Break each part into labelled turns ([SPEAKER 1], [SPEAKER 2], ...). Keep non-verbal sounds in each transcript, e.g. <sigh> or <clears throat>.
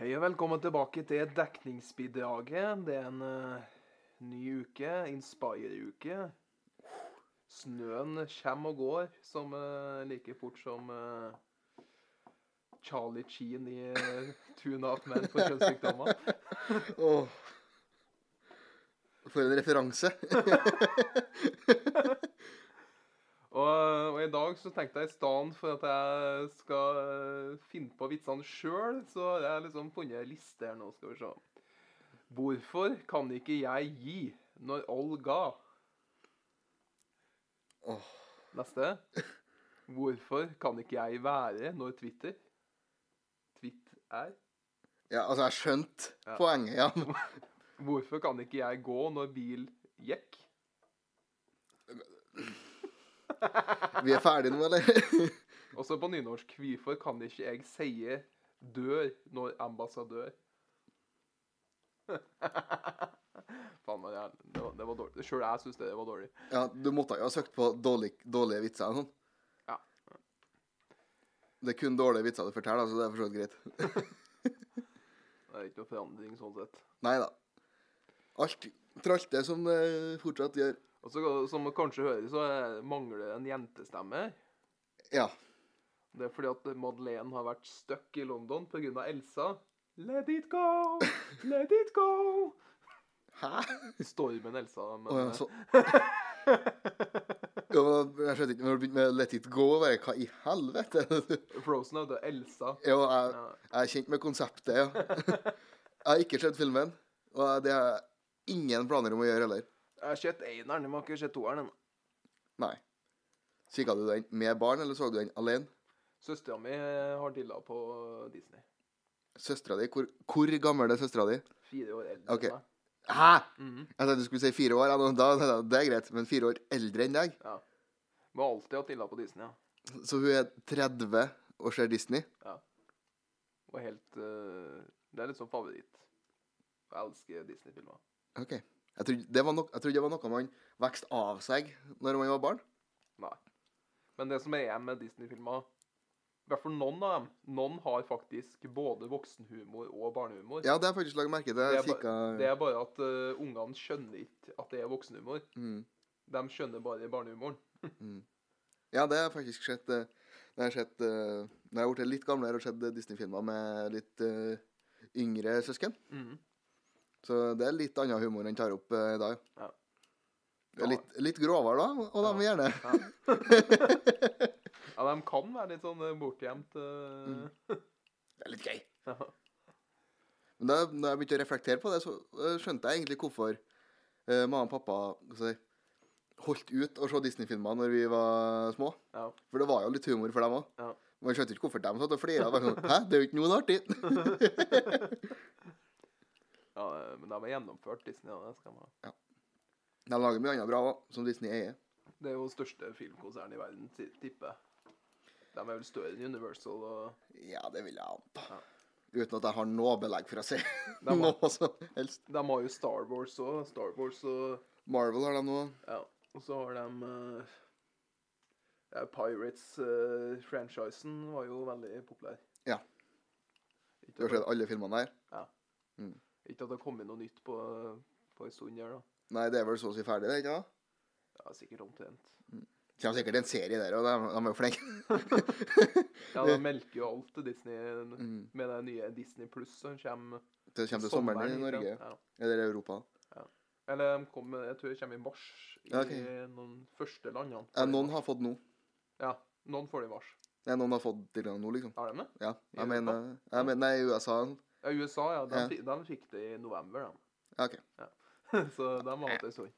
[SPEAKER 1] Hei og velkommen tilbake til dekningsbidraget. Det er en eh, ny uke, Inspire-uke. Snøen kommer og går som, eh, like fort som eh, Charlie Sheen i eh, Two and a Half Men for kjønnssykdommer.
[SPEAKER 2] Åh. For en referanse. <laughs>
[SPEAKER 1] Og, og i dag så tenkte jeg i stedet for at jeg skal eh, finne på vitsene sjøl, så har jeg liksom funnet ei liste her nå, skal vi se. Hvorfor kan ikke jeg gi når all ga?
[SPEAKER 2] Åh.
[SPEAKER 1] Neste. Hvorfor kan ikke jeg være når Twitter Twitt er?
[SPEAKER 2] Ja, altså, jeg har skjønt
[SPEAKER 1] Ja.
[SPEAKER 2] poenget, ja. men-
[SPEAKER 1] Hvorfor kan ikke jeg gå når bil gikk?
[SPEAKER 2] Vi er ferdige nå, eller? <laughs>
[SPEAKER 1] Og så på nynorsk. Hvorfor kan ikke jeg sie dør når ambassadør? <laughs> Faen, men jeg, det, var, det var dårlig. Sjøl jeg syns det var dårlig.
[SPEAKER 2] Ja, du måtte jo ha søkt på dårlig, dårlige vitser og sånn.
[SPEAKER 1] Ja.
[SPEAKER 2] Det er kun dårlige vitser du forteller, så det er for så vidt greit. <laughs>
[SPEAKER 1] Det er ikke noe forandring sånn sett.
[SPEAKER 2] Nei da. Alt tralte som eh, fortsatt gjør
[SPEAKER 1] Og så, som du kanskje hører, så eh, mangler det en jentestemme.
[SPEAKER 2] Ja.
[SPEAKER 1] Det er fordi at Madeleine har vært stuck i London pga. Elsa. Let it go! Let it go!
[SPEAKER 2] Hæ?
[SPEAKER 1] Stormen Elsa. Men,
[SPEAKER 2] Å, ja, så. Ja, men jeg skjønte ikke Når du begynte med 'Let it go', bare hva i helvete?
[SPEAKER 1] <laughs>
[SPEAKER 2] <laughs>
[SPEAKER 1] Frozen hadde Elsa.
[SPEAKER 2] Jo, jeg,
[SPEAKER 1] Ja.
[SPEAKER 2] Jeg er kjent med konseptet,
[SPEAKER 1] <laughs>
[SPEAKER 2] ja. Jeg har ikke sett filmen, og det har jeg ingen planer om å gjøre heller.
[SPEAKER 1] Jeg har sett eneren, men jeg har ikke sett toeren ennå.
[SPEAKER 2] Nei. Kikka du den med barn, eller så du den alene?
[SPEAKER 1] Søstera mi eh, har dilla på Disney.
[SPEAKER 2] Søstera di? Hvor, hvor gammel er søstera di?
[SPEAKER 1] Fire år eldre
[SPEAKER 2] Ok.
[SPEAKER 1] enn meg.
[SPEAKER 2] Hæ?!
[SPEAKER 1] Mhm.
[SPEAKER 2] Jeg tenkte du skulle si fire år. Ja, nå- da, da, det er greit, men fire år eldre enn deg?
[SPEAKER 1] Må alltid ha dilla på Disney. ja.
[SPEAKER 2] Så hun er 30 og ser Disney?
[SPEAKER 1] Og helt eh, Det er litt sånn favoritt. Jeg elsker Disney-filmer.
[SPEAKER 2] OK. Jeg trodde det var, no, jeg trodde det var noe man vokste av seg når man var barn.
[SPEAKER 1] Men det som er med Disney-filmer I hvert fall noen av dem. Noen har faktisk både voksenhumor og barnehumor.
[SPEAKER 2] Ja, det har jeg faktisk lagt merke til. Jeg
[SPEAKER 1] Det er
[SPEAKER 2] kikka
[SPEAKER 1] Det er bare at eh, ungene skjønner ikke at det er voksenhumor.
[SPEAKER 2] mm.
[SPEAKER 1] De skjønner bare barnehumoren.
[SPEAKER 2] Ja, det har jeg faktisk sett. eh, Når jeg har sett, eh, når jeg har blitt litt gamlere og sett eh, Disney-filmer med litt eh, yngre søsken.
[SPEAKER 1] Mm.
[SPEAKER 2] Så det er litt annen humor enn tar opp eh, i dag.
[SPEAKER 1] Ja.
[SPEAKER 2] Det er litt, litt grovere da, og da må vi gjerne <laughs>
[SPEAKER 1] Ja. ja, de kan være litt sånn eh, bortgjemt. eh,
[SPEAKER 2] Det er litt gøy.
[SPEAKER 1] ja.
[SPEAKER 2] Men da når jeg begynte å reflektere på det, så eh, skjønte jeg egentlig hvorfor eh, mamma og pappa hva skal jeg si, holdt ut å se Disney-filmer når vi var små.
[SPEAKER 1] <laughs> ja.
[SPEAKER 2] For det var jo litt humor for dem òg.
[SPEAKER 1] Ja.
[SPEAKER 2] Man skjønte ikke hvorfor de satt og flira. Bare sånn, Hæ, det er jo ikke noe artig. <laughs>
[SPEAKER 1] ja, eh, men de er gjennomført, Disney. Ja, det, skal man. ha.
[SPEAKER 2] De lager mye annet bra òg, som Disney eier.
[SPEAKER 1] det er jo største filmkonsernet i verden, ti- tipper jeg. De er vel større enn Universal. og
[SPEAKER 2] Ja, det vil jeg anta.
[SPEAKER 1] Ja.
[SPEAKER 2] Uten at jeg har noe belegg for
[SPEAKER 1] <laughs>
[SPEAKER 2] å si
[SPEAKER 1] var-
[SPEAKER 2] noe som helst.
[SPEAKER 1] De har jo Star Wars òg. Star Wars og
[SPEAKER 2] Marvel har de nå.
[SPEAKER 1] Ja. Og så har de eh, ja, Pirates-franchisen var jo veldig populær.
[SPEAKER 2] Ja. Du
[SPEAKER 1] Ikke
[SPEAKER 2] har
[SPEAKER 1] at,
[SPEAKER 2] sett alle filmene der?
[SPEAKER 1] det- ikke at det har kommet noe nytt på, på en stund her, da.
[SPEAKER 2] Nei, det er vel så å si ferdig, det, ikke sant?
[SPEAKER 1] Ja, sikkert omtrent.
[SPEAKER 2] Det kommer sikkert en serie der, og de, de er jo flinke.
[SPEAKER 1] <laughs> Ja, de melker jo alt til Disney
[SPEAKER 2] mm.
[SPEAKER 1] med det nye Disney Pluss som kommer
[SPEAKER 2] Det kommer til sommeren i
[SPEAKER 1] hit,
[SPEAKER 2] Norge.
[SPEAKER 1] Ja.
[SPEAKER 2] Eller Europa.
[SPEAKER 1] Eller de kom, jeg tror det kommer i mars i
[SPEAKER 2] Ja, ok.
[SPEAKER 1] noen første landene.
[SPEAKER 2] Ja, noen har fått nå.
[SPEAKER 1] Ja, noen får det i mars.
[SPEAKER 2] Ja, noen har fått til nå, liksom.
[SPEAKER 1] Har de det?
[SPEAKER 2] Ja,
[SPEAKER 1] I
[SPEAKER 2] jeg mener, jeg mener Nei, USA.
[SPEAKER 1] Ja, USA, ja. De,
[SPEAKER 2] Ja.
[SPEAKER 1] fi- de fikk det i november, da.
[SPEAKER 2] Ja, OK.
[SPEAKER 1] <laughs> Så de har hatt det en stund.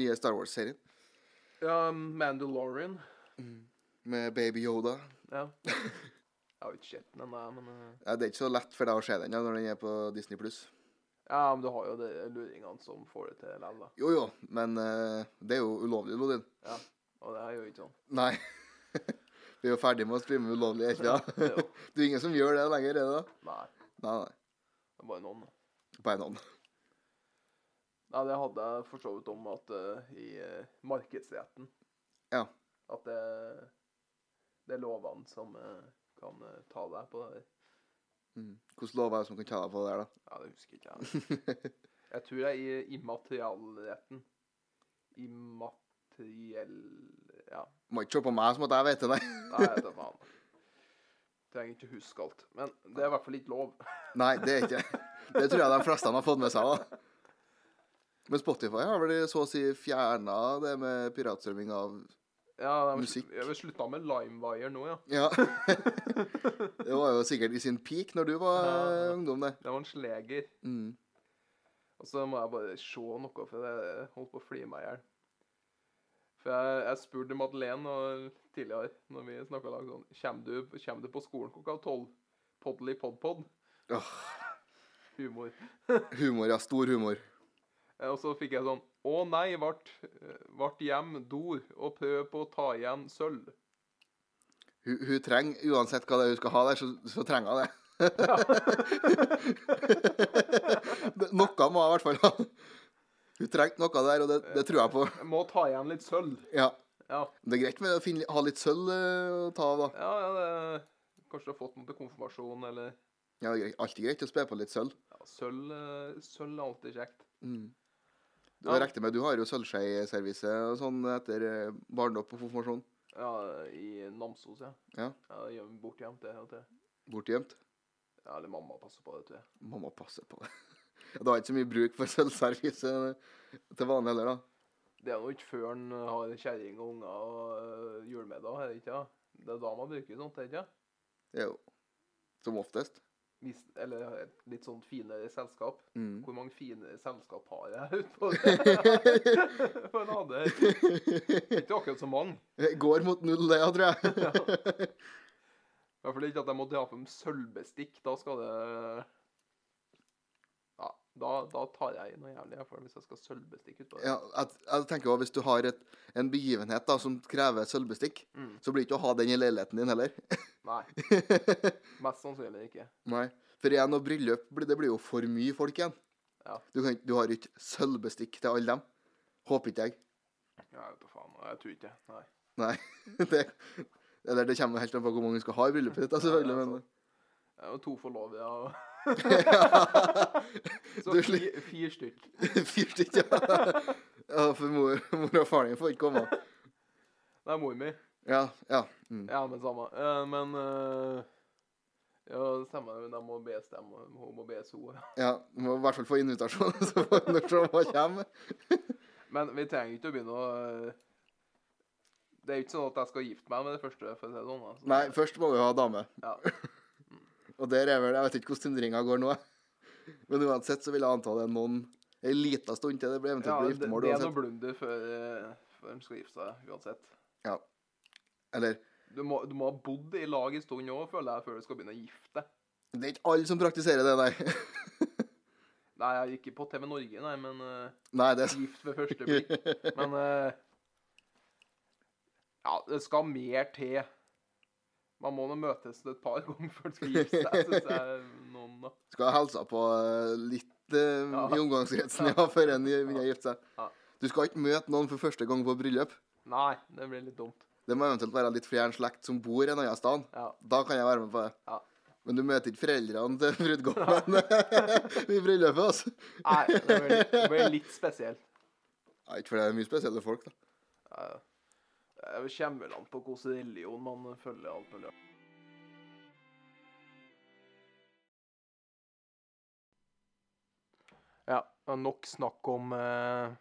[SPEAKER 2] Nye Star Wars-serien
[SPEAKER 1] Ja, Mandalorian.
[SPEAKER 2] med Baby Yoda.
[SPEAKER 1] Ja. Jeg har jo ikke sett den, nei, men eh,
[SPEAKER 2] Ja, det er ikke så lett for deg å se den ja, når den er på Disney pluss.
[SPEAKER 1] Ja, men du har jo de luringene som får det til likevel, da.
[SPEAKER 2] Jo jo, men eh, det er jo ulovlig, Lodin.
[SPEAKER 1] Og det er jo ikke sånn.
[SPEAKER 2] Nei. <laughs> Vi er jo ferdig med å streame ulovlig, er ikke
[SPEAKER 1] Det
[SPEAKER 2] det?
[SPEAKER 1] er <laughs> jo,
[SPEAKER 2] <laughs> Det er ingen som gjør det lenger, er det? da?
[SPEAKER 1] nei,
[SPEAKER 2] Nei, nei.
[SPEAKER 1] det er bare noen. da.
[SPEAKER 2] På en hånd.
[SPEAKER 1] Nei, det hadde jeg for så vidt om at eh, i eh, markedsretten
[SPEAKER 2] Ja.
[SPEAKER 1] At det, det er lovene som eh, kan eh, ta deg på det. her.
[SPEAKER 2] Mm. Hvordan lov er det som kan ta deg på det der, da?
[SPEAKER 1] Ja, det husker ikke jeg. Jeg tror det er i immaterialretten. Immateriell Ja,
[SPEAKER 2] <laughs> Må ikke se på meg som at jeg vet det, nei. <laughs>
[SPEAKER 1] nei, jeg vet da faen. Trenger ikke huske alt. Men det er i hvert fall ikke lov.
[SPEAKER 2] Nei, det er ikke Det tror jeg de fleste har fått med seg. da. Men Spotify har vel så å si fjerna det med piratstrømming av
[SPEAKER 1] Ja, de,
[SPEAKER 2] Musikk.
[SPEAKER 1] Jeg vil slutta med LimeWire nå, ja.
[SPEAKER 2] Ja. <laughs> Det var jo sikkert i sin peak når du var
[SPEAKER 1] Ja, ja.
[SPEAKER 2] ungdom, det.
[SPEAKER 1] Det var en sleger.
[SPEAKER 2] Mm.
[SPEAKER 1] Og så må jeg bare se noe, for jeg holdt på å flire meg i hjel. For jeg, jeg spurte Madeleine og tidligere når vi snakka lag sånn «Kjem du, kjem du på skolen klokka tolv? Podly podpod?
[SPEAKER 2] Åh,
[SPEAKER 1] Humor.
[SPEAKER 2] humor, ja. Stor humor.
[SPEAKER 1] Eh, Og så fikk jeg sånn Å nei, vart, vart hjem dor og prøv på å ta igjen sølv.
[SPEAKER 2] Hun, hun trenger, uansett hva det er hun skal ha der, så, så trenger hun det. Det- <laughs> noe må hun i hvert fall ha. Hun trengte noe der, og det, det tror jeg på.
[SPEAKER 1] Jeg må ta igjen litt sølv.
[SPEAKER 2] Ja.
[SPEAKER 1] Ja,
[SPEAKER 2] Det er greit med å finne, ha litt sølv eh, å ta av, da.
[SPEAKER 1] ja, ja det, Kanskje du har fått noe til konfirmasjon, eller
[SPEAKER 2] Ja, det er greit. Alltid greit å spe på litt sølv.
[SPEAKER 1] ja, Sølv eh, Sølv er alltid kjekt.
[SPEAKER 2] Mm. Du,
[SPEAKER 1] Ja.
[SPEAKER 2] rekte med, du har jo sølvskeiservice og sånn etter eh, barndom og konfirmasjon.
[SPEAKER 1] Ja, i Namsos, ja.
[SPEAKER 2] Ja.
[SPEAKER 1] ja det gjør vi bort hjem til. til.
[SPEAKER 2] Bortgjemt.
[SPEAKER 1] Ja, eller mamma passer på det, tror jeg.
[SPEAKER 2] Mamma passer på <laughs> det. Du har ikke så mye bruk for sølvservice til vanlig heller, da.
[SPEAKER 1] Det er jo ikke før en har kjerring og unger og øh, julemiddag, er det ikke? da? Det er da man bruker sånt, er det ikke?
[SPEAKER 2] Det er jo som oftest.
[SPEAKER 1] Hvis, eller et litt sånn finere selskap.
[SPEAKER 2] Mm.
[SPEAKER 1] Hvor mange finere selskap har jeg utpå <laughs> For en hadde ikke akkurat så mange.
[SPEAKER 2] Går mot null, det, ja, tror jeg.
[SPEAKER 1] <laughs> Ja. I hvert fall ikke at jeg må dra fram sølvbestikk. Da skal det ja, da, da tar jeg i noe jævlig, i hvert fall hvis jeg skal ha sølvbestikk utpå det.
[SPEAKER 2] Ja, at, jeg tenker også, Hvis du har et, en begivenhet da, som krever sølvbestikk,
[SPEAKER 1] Mm.
[SPEAKER 2] så blir det ikke å ha den i leiligheten din heller. <laughs>
[SPEAKER 1] Nei, mest sannsynlig ikke.
[SPEAKER 2] Nei. For igjen, og bryllup blir- det blir jo for mye folk igjen.
[SPEAKER 1] Ja.
[SPEAKER 2] Du, kan, ikke- du har ikke sølvbestikk til alle dem. Håper ikke jeg.
[SPEAKER 1] Ja, Jeg vet da faen. Jeg tror ikke Nei.
[SPEAKER 2] Nei. <laughs> Det, eller det kommer helt an på hvor mange du skal ha i bryllupet ditt, da, selvfølgelig.
[SPEAKER 1] Ja, det er
[SPEAKER 2] Men, <laughs>
[SPEAKER 1] Jeg er jo to forlovede og
[SPEAKER 2] <laughs>
[SPEAKER 1] Så
[SPEAKER 2] Du
[SPEAKER 1] fi,
[SPEAKER 2] sli-
[SPEAKER 1] fire stykk.
[SPEAKER 2] Fyrt ikke, <laughs> ja. ja. For mor, mor og faren din får ikke komme.
[SPEAKER 1] Det er mor mi.
[SPEAKER 2] Ja. ja. Mm.
[SPEAKER 1] Ja, men samme. Eh, men eh, Ja, det stemmer. De må bestemme. Hun må bes hun.
[SPEAKER 2] ja. Du må i hvert fall få invitasjon <laughs> så får vi når så hva kommer.
[SPEAKER 1] Men vi trenger ikke å begynne å eh, Det er jo ikke sånn at jeg skal gifte meg med det første, for å si det sånn. Altså.
[SPEAKER 2] Nei, først må vi ha dame. <laughs>
[SPEAKER 1] Ja.
[SPEAKER 2] Og der er vel Jeg vet ikke hvordan tindringa går nå. Men uansett så vil jeg anta det er noen en liten stund til det
[SPEAKER 1] Ja,
[SPEAKER 2] blir eventuelt blir
[SPEAKER 1] det,
[SPEAKER 2] giftermål.
[SPEAKER 1] det er noe
[SPEAKER 2] uansett.
[SPEAKER 1] blunder før, eh, før en skal gifte seg, uansett.
[SPEAKER 2] Eller
[SPEAKER 1] Du må, du må ha bodd i lag en stund òg, føler jeg, før du skal begynne å gifte deg.
[SPEAKER 2] Det er ikke alle som praktiserer det, nei. <laughs>
[SPEAKER 1] Nei, jeg gikk ikke på TV Norge, nei, men eh,
[SPEAKER 2] Nei, det er
[SPEAKER 1] gift ved første blikk.
[SPEAKER 2] sant.
[SPEAKER 1] Men eh, Ja, det skal mer til. Man må nå møtes et par ganger før det skal gifte seg, syns jeg. Noen, da.
[SPEAKER 2] <laughs> Skal ha helsa på eh, litt eh,
[SPEAKER 1] <laughs> Ja.
[SPEAKER 2] i omgangskretsen ja, før en begynner å gifte
[SPEAKER 1] Ja.
[SPEAKER 2] seg. Du skal ikke møte noen for første gang på bryllup.
[SPEAKER 1] Nei, det blir litt dumt.
[SPEAKER 2] Det må eventuelt være litt fjern slekt som bor en annen sted.
[SPEAKER 1] Ja.
[SPEAKER 2] Da kan jeg være med på det.
[SPEAKER 1] Ja.
[SPEAKER 2] Men du møter ikke foreldrene
[SPEAKER 1] <laughs>
[SPEAKER 2] til brudgommen <laughs> i bryllupet. altså.
[SPEAKER 1] Nei, det blir, litt- det blir litt spesielt.
[SPEAKER 2] Ja, ikke for det er mye spesielle folk, da.
[SPEAKER 1] Eh, Det kommer vel an på hvilken religion man følger. alt mulig. Ja, og nok snakk om eh,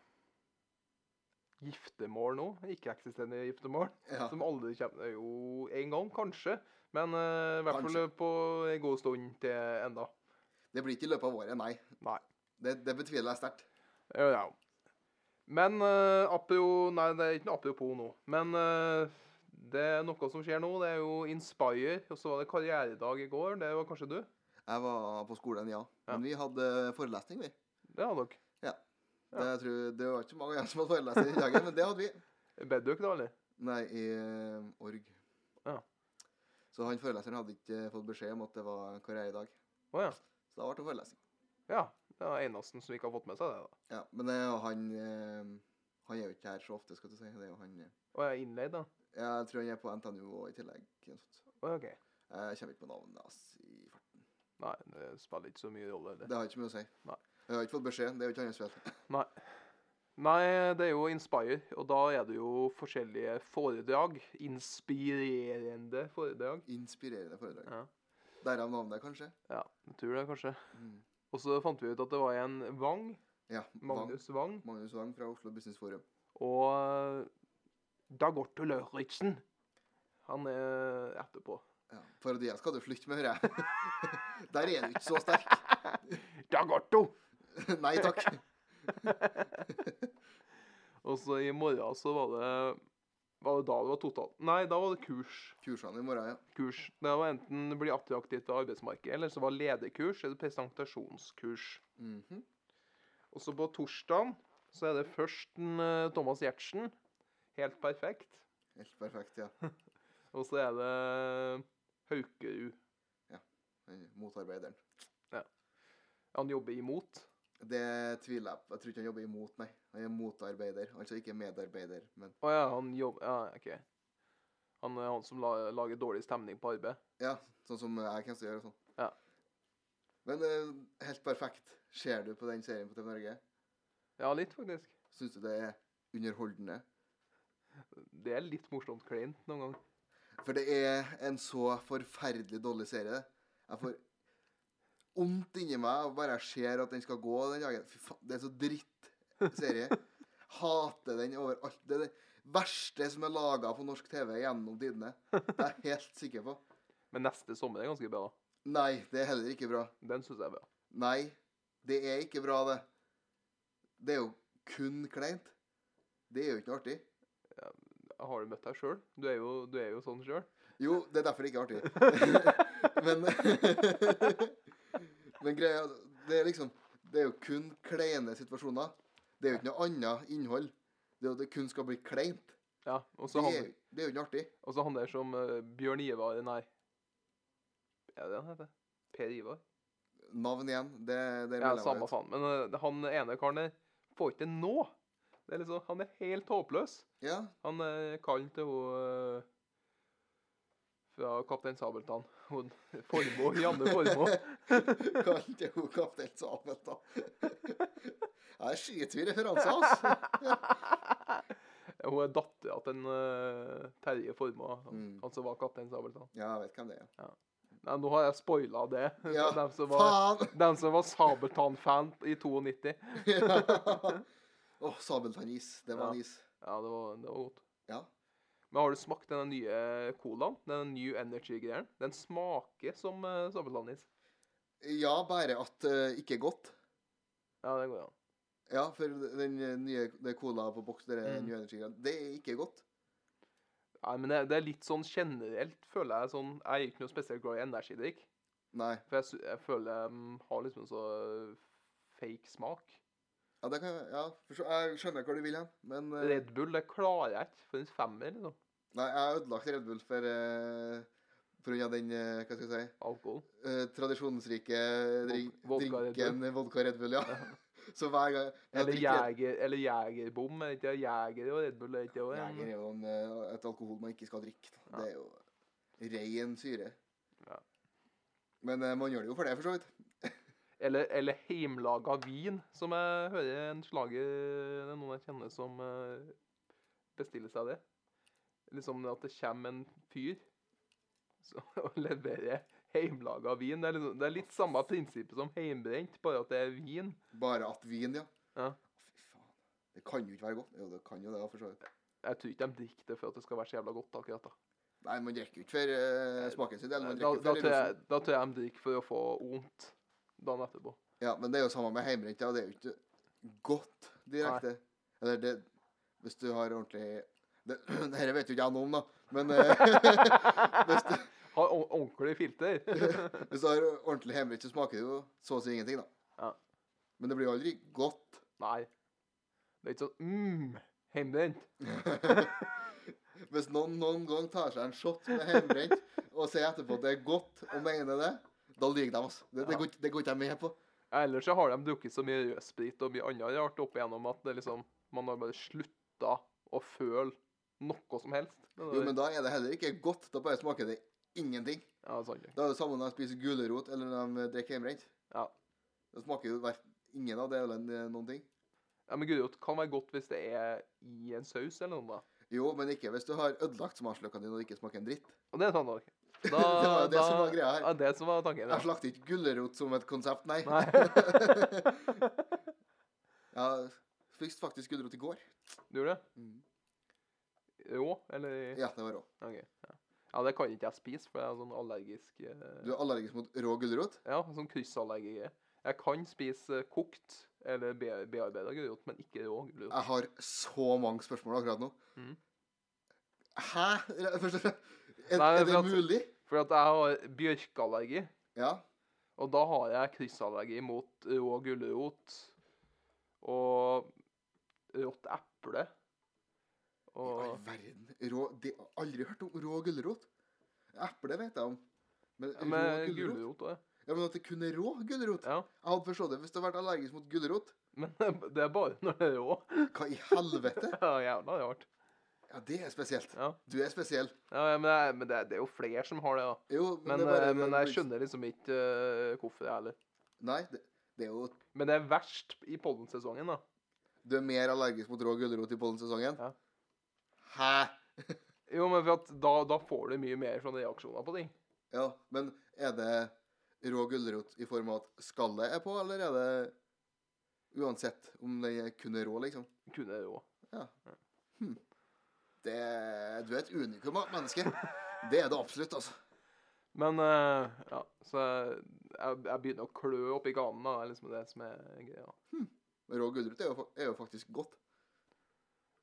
[SPEAKER 1] giftermål nå. Ikke-eksisterende giftermål.
[SPEAKER 2] Ja.
[SPEAKER 1] Som aldri kommer Jo, en gang, kanskje. Men eh, i hvert fall
[SPEAKER 2] Kanskje.
[SPEAKER 1] på en god stund til enda.
[SPEAKER 2] Det blir ikke i løpet av året, nei.
[SPEAKER 1] Nei.
[SPEAKER 2] Det, det betviler jeg sterkt.
[SPEAKER 1] Det gjør jeg òg. Men eh, apro- Nei, det er ikke noe apropos nå. Men eh, det er noe som skjer nå. Det er jo Inspire, og så var det karrieredag i går. Det var kanskje du?
[SPEAKER 2] Jeg var på skolen, ja.
[SPEAKER 1] Ja.
[SPEAKER 2] Men vi hadde forelesning, vi.
[SPEAKER 1] Det hadde dere. Ja.
[SPEAKER 2] Det, jeg tror, det var ikke så mange igjen som hadde forelesning i dag, men det hadde vi.
[SPEAKER 1] Bedde dere da, eller?
[SPEAKER 2] Nei, i eh, org.
[SPEAKER 1] Ja.
[SPEAKER 2] Så han foreleseren hadde ikke eh, fått beskjed om at det var karriere i dag.
[SPEAKER 1] Å ja.
[SPEAKER 2] Så da ble det forelesning.
[SPEAKER 1] Ja. Det er eneste som ikke har fått med seg det. da.
[SPEAKER 2] Ja, men det er jo han eh, Han er jo ikke her så ofte, skal du si. Det er jo han eh,
[SPEAKER 1] Og jeg er innleid, da.
[SPEAKER 2] ja, Jeg tror han er på NTNU og i tillegg. eller noe sånt.
[SPEAKER 1] Å, ja, ok.
[SPEAKER 2] Jeg kommer ikke på navnet hans i farten.
[SPEAKER 1] Nei, det spiller ikke så mye rolle. Det.
[SPEAKER 2] Det har ikke mye å si.
[SPEAKER 1] Nei.
[SPEAKER 2] Jeg har ikke fått beskjed. Det er jo ikke hans feil.
[SPEAKER 1] Nei. Nei, det er jo Inspire, og da er det jo forskjellige foredrag. Inspirerende foredrag.
[SPEAKER 2] Inspirerende foredrag.
[SPEAKER 1] Ja,
[SPEAKER 2] Derav navnet, kanskje.
[SPEAKER 1] ja jeg tror det, kanskje.
[SPEAKER 2] Mm.
[SPEAKER 1] Og så fant vi ut at det var en Wang,
[SPEAKER 2] Ja. Wang.
[SPEAKER 1] Magnus Wang,
[SPEAKER 2] Magnus Wang fra Oslo Business Forum.
[SPEAKER 1] og Dagotto Lauritzen. Han er etterpå.
[SPEAKER 2] Ja. Parodier skal du flytte med, hører jeg. <laughs> Der er du ikke så sterk.
[SPEAKER 1] Dagotto!
[SPEAKER 2] Nei takk.
[SPEAKER 1] <laughs> Og så i morgen så var det Var det da det var totalt? Nei, da var det kurs.
[SPEAKER 2] Kursene i morgen, ja.
[SPEAKER 1] kurs. Det var enten bli attraktivt til arbeidsmarkedet, eller så var lederkurs eller presentasjonskurs.
[SPEAKER 2] Mhm.
[SPEAKER 1] Og så på torsdagen så er det først en, eh, Thomas Giertsen. Helt perfekt.
[SPEAKER 2] Helt perfekt, ja.
[SPEAKER 1] Og så er det Haukerud.
[SPEAKER 2] Den Motarbeideren.
[SPEAKER 1] Han jobber imot.
[SPEAKER 2] Det tviler jeg på. Jeg tror ikke han jobber imot, nei. Han er motarbeider. Altså ikke medarbeider, men
[SPEAKER 1] Å ja, han jobber Ja, OK. Han er han som la- lager dårlig stemning på arbeid.
[SPEAKER 2] Ja, sånn som jeg kan gjøre og sånn.
[SPEAKER 1] Ja.
[SPEAKER 2] Men eh, helt perfekt. Ser du på den serien på TV Norge?
[SPEAKER 1] Ja, litt, faktisk.
[SPEAKER 2] Syns du det er underholdende?
[SPEAKER 1] Det er litt morsomt kleint noen gang.
[SPEAKER 2] For det er en så forferdelig dårlig serie. det. Jeg får vondt inni meg bare jeg ser at den skal gå den dagen. Fy faen, det er så dritt serie. Hater den overalt. Det er det verste som er laga på norsk TV gjennom tidene. Det er jeg helt sikker på.
[SPEAKER 1] Men neste sommer er ganske bra. da.
[SPEAKER 2] Nei, det er heller ikke bra.
[SPEAKER 1] Den syns jeg er bra.
[SPEAKER 2] Nei, det er ikke bra, det. Det er jo kun kleint. Det er jo ikke noe artig.
[SPEAKER 1] Har du møtt deg sjøl? Du, er jo- du er jo sånn
[SPEAKER 2] <laughs>
[SPEAKER 1] sjøl.
[SPEAKER 2] Jo, det er derfor det ikke er artig. <laughs> Men, <laughs> men greia Det er liksom Det er jo kun kleine situasjoner. Det er jo ikke noe annet innhold. Det er jo at det kun skal bli kleint.
[SPEAKER 1] Ja, og
[SPEAKER 2] Det
[SPEAKER 1] så
[SPEAKER 2] er,
[SPEAKER 1] han,
[SPEAKER 2] det er jo ikke noe artig.
[SPEAKER 1] og så han der som eh, Bjørn Ivar Nei. Er det det han heter? Per Ivar?
[SPEAKER 2] Navn igjen, det, det
[SPEAKER 1] Ja,
[SPEAKER 2] melder jeg meg
[SPEAKER 1] samme
[SPEAKER 2] ut.
[SPEAKER 1] faen. Men eh, han ene karen der får ikke det nå. Det er liksom, han er helt håpløs.
[SPEAKER 2] Ja,
[SPEAKER 1] Han er kallen til hun eh, fra Kaptein Sabeltann. Hun <laughs> Formoe. Janne Formoe.
[SPEAKER 2] <laughs> Kalte hun kaptein Sabel, da. <laughs> Ja, det skyter vi referanser, altså.
[SPEAKER 1] <laughs> Hun er dattera til en, eh, Terje Formoe, han,
[SPEAKER 2] Mm.
[SPEAKER 1] han som var Kaptein Sabeltann.
[SPEAKER 2] Ja, jeg vet hvem det er.
[SPEAKER 1] Nei, nå har jeg spoila det.
[SPEAKER 2] Ja,
[SPEAKER 1] <laughs> Dem som var,
[SPEAKER 2] Faen!
[SPEAKER 1] dem som var Sabeltann-fan i 92.
[SPEAKER 2] Åh, sabeltannis. Det var
[SPEAKER 1] Ja.
[SPEAKER 2] en is.
[SPEAKER 1] Ja, det var, det var godt.
[SPEAKER 2] Ja.
[SPEAKER 1] Men har du smakt denne nye eh, colaen? Den New Energy-greien? Den smaker som uh, sabeltannis.
[SPEAKER 2] ja, bare at eh, ikke godt.
[SPEAKER 1] Ja, det går an.
[SPEAKER 2] Ja, for den eh, nye det cola på boks, det er
[SPEAKER 1] Mm.
[SPEAKER 2] New Energy, det er ikke godt.
[SPEAKER 1] Nei, men det, det er litt sånn generelt, føler jeg. sånn, Jeg er ikke noe spesielt glad i energidrikk.
[SPEAKER 2] Nei.
[SPEAKER 1] For jeg, sy- jeg føler de har liksom en så fake smak.
[SPEAKER 2] Ja, det kan, ja for så, jeg skjønner hva du vil hen, men eh,
[SPEAKER 1] Red Bull det klarer jeg ikke for en femmer. liksom.
[SPEAKER 2] Nei, jeg har ødelagt Red Bull for eh, på grunn av den eh, hva skal jeg si,
[SPEAKER 1] Alkohol.
[SPEAKER 2] eh, tradisjonsrike dri-
[SPEAKER 1] Vod- vodka Red
[SPEAKER 2] drinken vodka Red Bull, ja. <laughs> Så hver gang jeg
[SPEAKER 1] Eller
[SPEAKER 2] drikker Red-
[SPEAKER 1] jeger, eller jegerbom. Er det ikke det? jeger og Red Bull? Er det ikke det?
[SPEAKER 2] Jeger er jo en, eh, et alkohol man ikke skal drikke. Da. Det er jo ren syre.
[SPEAKER 1] Ja.
[SPEAKER 2] Men eh, man gjør det jo for det, for så vidt.
[SPEAKER 1] Eller, eller heimlaga vin, som jeg hører en slager Det er noen jeg kjenner som eh, bestiller seg det. Liksom at det kommer en fyr så- <laughs> og leverer heimlaga vin. Det er, liksom, det er litt samme prinsippet som heimbrent, bare at det er vin.
[SPEAKER 2] Bare at vin, ja.
[SPEAKER 1] Ja.
[SPEAKER 2] Fy faen. Det kan jo ikke være godt. Jo, det kan jo det, da, for så vidt.
[SPEAKER 1] Jeg tror ikke de drikker det for at det skal være så jævla godt. akkurat Da
[SPEAKER 2] Nei, man drikker jo ikke for eh, smaken sin del.
[SPEAKER 1] Da, da,
[SPEAKER 2] Man drikker for
[SPEAKER 1] tror, jeg,
[SPEAKER 2] rusen.
[SPEAKER 1] da tror jeg de drikker for å få vondt dagen etterpå.
[SPEAKER 2] Ja, men det er jo samme med hjemmebrent, ja. Det er jo ikke godt direkte. Eller det Hvis du har ordentlig det, <clears throat> Dette vet jo ikke jeg noe om, da. Men eh, <laughs> hvis, du,
[SPEAKER 1] Har ord- ordentlig filter.
[SPEAKER 2] <laughs> hvis du har ordentlig hjemmebrent, så smaker det jo så å si ingenting, da.
[SPEAKER 1] Ja.
[SPEAKER 2] Men det blir jo aldri godt.
[SPEAKER 1] Nei. Det er ikke sånn mm, heimbrent.
[SPEAKER 2] Hvis noen noen gang tar seg en shot med hjemmebrent og sier etterpå at det er godt, og mener det, da lyver de. Altså. Det, det, går, ikke- det går ikke jeg med på.
[SPEAKER 1] Ellers så har de drukket så mye rødsprit og mye annet rart opp igjennom at det liksom, man har bare slutta å føle noe som helst. Det er-
[SPEAKER 2] Jo, Men da er det heller ikke godt. Da bare smaker det ingenting.
[SPEAKER 1] Ja, sant det.
[SPEAKER 2] Det er det samme når de spiser gulrot eller når de drikker hjemmebrent.
[SPEAKER 1] Ja.
[SPEAKER 2] Det smaker jo hver, ingen av delene eh, noen ting.
[SPEAKER 1] ja, men gulrot kan være godt hvis det er i en saus eller noe. da.
[SPEAKER 2] Jo, men ikke hvis du har ødelagt smaksløkene dine og det ikke smaker en dritt.
[SPEAKER 1] Og det er sant òg.
[SPEAKER 2] <laughs>
[SPEAKER 1] Da,
[SPEAKER 2] Det var jo det
[SPEAKER 1] da-
[SPEAKER 2] som var greia her.
[SPEAKER 1] Ja, det som var tanken.
[SPEAKER 2] Jeg
[SPEAKER 1] Ja.
[SPEAKER 2] slakter ikke gulrot som et konsept, nei. <laughs>
[SPEAKER 1] Nei.
[SPEAKER 2] Jeg spiste faktisk gulrot i går.
[SPEAKER 1] du gjorde det?
[SPEAKER 2] Mhm.
[SPEAKER 1] Rå, eller ja.
[SPEAKER 2] Ja, det var rå.
[SPEAKER 1] ja. ja, det kan ikke jeg spise, for jeg er sånn allergisk eh,
[SPEAKER 2] Du er allergisk mot rå gulrot?
[SPEAKER 1] Ja, sånn kryssallergi. Jeg kan spise kokt eller be bearbeida gulrot, men ikke rå gulrot.
[SPEAKER 2] Jeg har så mange spørsmål akkurat nå.
[SPEAKER 1] Mhm.
[SPEAKER 2] Hæ? Først og fremst, er,
[SPEAKER 1] Nei,
[SPEAKER 2] er
[SPEAKER 1] for
[SPEAKER 2] det
[SPEAKER 1] at-
[SPEAKER 2] mulig?
[SPEAKER 1] For at jeg har bjørkallergi,
[SPEAKER 2] Ja.
[SPEAKER 1] og da har jeg kryssallergi mot rå gulrot og rått eple.
[SPEAKER 2] I all
[SPEAKER 1] Og
[SPEAKER 2] verden. Rå Det har jeg aldri hørt om rå gulrot. Eple vet jeg om. Men
[SPEAKER 1] ja,
[SPEAKER 2] rå
[SPEAKER 1] med
[SPEAKER 2] gulrot?
[SPEAKER 1] gulrot òg.
[SPEAKER 2] Ja, men at det kun er rå gulrot?
[SPEAKER 1] Ja.
[SPEAKER 2] Jeg hadde forstått det hvis du hadde vært allergisk mot gulrot.
[SPEAKER 1] Men <laughs> det er bare når det er rå. <laughs>
[SPEAKER 2] Hva i helvete?
[SPEAKER 1] Ja, jævla rart.
[SPEAKER 2] Ja, det er spesielt.
[SPEAKER 1] Ja.
[SPEAKER 2] Du er spesiell.
[SPEAKER 1] Ja, ja, men det, er- men det, er- det er jo flere som har det, da.
[SPEAKER 2] Jo, men,
[SPEAKER 1] Men,
[SPEAKER 2] det er bare,
[SPEAKER 1] eh, men jeg
[SPEAKER 2] det-
[SPEAKER 1] skjønner liksom ikke eh, hvorfor, jeg heller.
[SPEAKER 2] Nei, det, det er jo
[SPEAKER 1] Men det er verst i pollensesongen, da.
[SPEAKER 2] Du er mer allergisk mot rå gulrot i pollensesongen?
[SPEAKER 1] Ja.
[SPEAKER 2] Hæ?
[SPEAKER 1] Jo, men for at da, da får du mye mer sånne reaksjoner på ting.
[SPEAKER 2] Ja, men er det rå gulrot i form av at skallet er på, eller er det uansett om den er kun er rå, liksom?
[SPEAKER 1] Kunne det òg.
[SPEAKER 2] Det, du er et unikum av et menneske. Det er det absolutt, altså.
[SPEAKER 1] Men eh, ja, så jeg, jeg, jeg begynner å klø oppi ganen, da. Det er liksom det som er greia.
[SPEAKER 2] Men Rå gulrot er jo, fa- er jo faktisk godt.